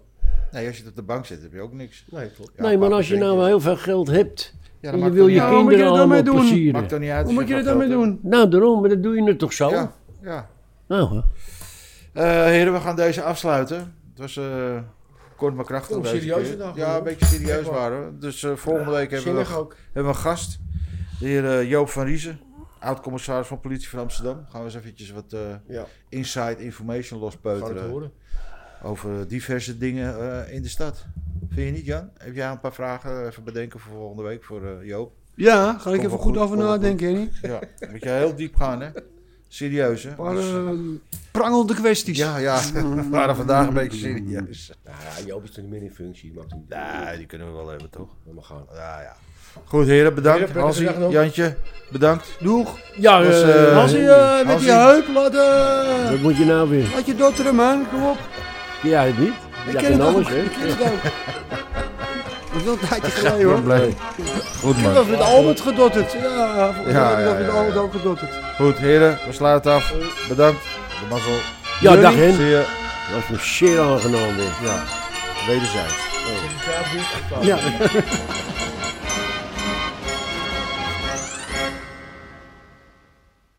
Speaker 1: Nee, als je het op de bank zet, heb je ook niks.
Speaker 4: Nee, klopt.
Speaker 1: Ja,
Speaker 5: nee, maar
Speaker 1: papa
Speaker 5: als je
Speaker 1: drinkt,
Speaker 5: nou
Speaker 1: ja.
Speaker 5: heel veel geld hebt
Speaker 1: dan
Speaker 5: en je
Speaker 1: maakt
Speaker 5: wil
Speaker 1: het
Speaker 5: je
Speaker 1: niet uit.
Speaker 3: Ja, wat moet je
Speaker 5: kinderen
Speaker 3: er dan
Speaker 5: allemaal
Speaker 3: mee doen?
Speaker 1: Maakt
Speaker 5: plezieren.
Speaker 1: er niet uit.
Speaker 3: Hoe
Speaker 1: als
Speaker 3: moet je
Speaker 1: geen
Speaker 3: er dan mee
Speaker 1: geld
Speaker 3: doen?
Speaker 5: Nou, daarom, maar dat doe je het toch zo?
Speaker 1: hebt. Ja. ja.
Speaker 5: Nou, hè.
Speaker 1: Eh, Eh, heren, we gaan deze afsluiten. Het was eh, kort maar krachtig.
Speaker 5: Oh,
Speaker 4: Oeh,
Speaker 1: deze
Speaker 4: serieuze
Speaker 1: keer.
Speaker 4: dag,
Speaker 1: Ja,
Speaker 4: hoor.
Speaker 1: een beetje serieus
Speaker 4: Echt waar.
Speaker 1: waren. we. Dus eh, volgende week hebben we,
Speaker 4: Zinnig ook.
Speaker 1: hebben we een gast. De heer eh, Joop van Riezen, oud-commissaris van politie van Amsterdam. Gaan we eens eventjes wat eh,
Speaker 4: Ja,
Speaker 1: inside information
Speaker 4: we gaan het
Speaker 1: lospeuteren
Speaker 4: horen.
Speaker 1: over diverse dingen eh, in de stad. Vind je niet, Jan? Heb jij een paar vragen eh, even bedenken voor volgende week voor eh, Joop?
Speaker 3: Ja, ga ik
Speaker 1: Kom wel
Speaker 3: even goed
Speaker 1: goed,
Speaker 3: over
Speaker 1: kom wel
Speaker 3: nadenken, Henny.
Speaker 1: Ja, moet je heel diep gaan, hè? Serieus, hè?
Speaker 3: Een paar
Speaker 1: Dus,
Speaker 3: eh, prangelde kwesties.
Speaker 1: ja, ja, we waren vandaag een beetje serieus.
Speaker 4: Nou ja, Joop is er niet meer in functie. Maar toen,
Speaker 1: Ja, die kunnen we wel hebben, toch?
Speaker 4: maar gaan.
Speaker 1: Ja, ja. Goed, heren, bedankt.
Speaker 4: Heren, prettige
Speaker 1: Hansie,
Speaker 4: dag nog.
Speaker 1: Jantje, bedankt.
Speaker 3: Doeg.
Speaker 4: Ja,
Speaker 1: Was,
Speaker 4: eh,
Speaker 1: eh,
Speaker 3: Als je eh, met
Speaker 1: Hansie.
Speaker 3: die heup laat, eh,
Speaker 5: Wat moet je nou weer?
Speaker 3: laat je dotteren, man. Kom op.
Speaker 5: Ken jij het niet?
Speaker 3: Ik
Speaker 5: Ja,
Speaker 3: ken het
Speaker 5: alles,
Speaker 3: ook.
Speaker 5: hè?
Speaker 3: Ik ken het ook. Dat is wel een tijdje geleden, hoor.
Speaker 1: blij. Goed,
Speaker 3: Ik
Speaker 1: man.
Speaker 3: heb met Albert gedotterd. Ja, volgens
Speaker 1: Ja,
Speaker 3: mij heb
Speaker 1: ja,
Speaker 3: ik nog met
Speaker 1: ja,
Speaker 3: Albert
Speaker 1: ja.
Speaker 3: ook gedotterd.
Speaker 1: Goed, heren, we slaan het af. Bedankt. De mazzel.
Speaker 5: Ja, dag
Speaker 1: Zie
Speaker 5: Hen.
Speaker 1: je.
Speaker 5: was me zeer aangenaam weer.
Speaker 1: Ja, wederzijds.
Speaker 4: ja, dit is het.
Speaker 3: Ja.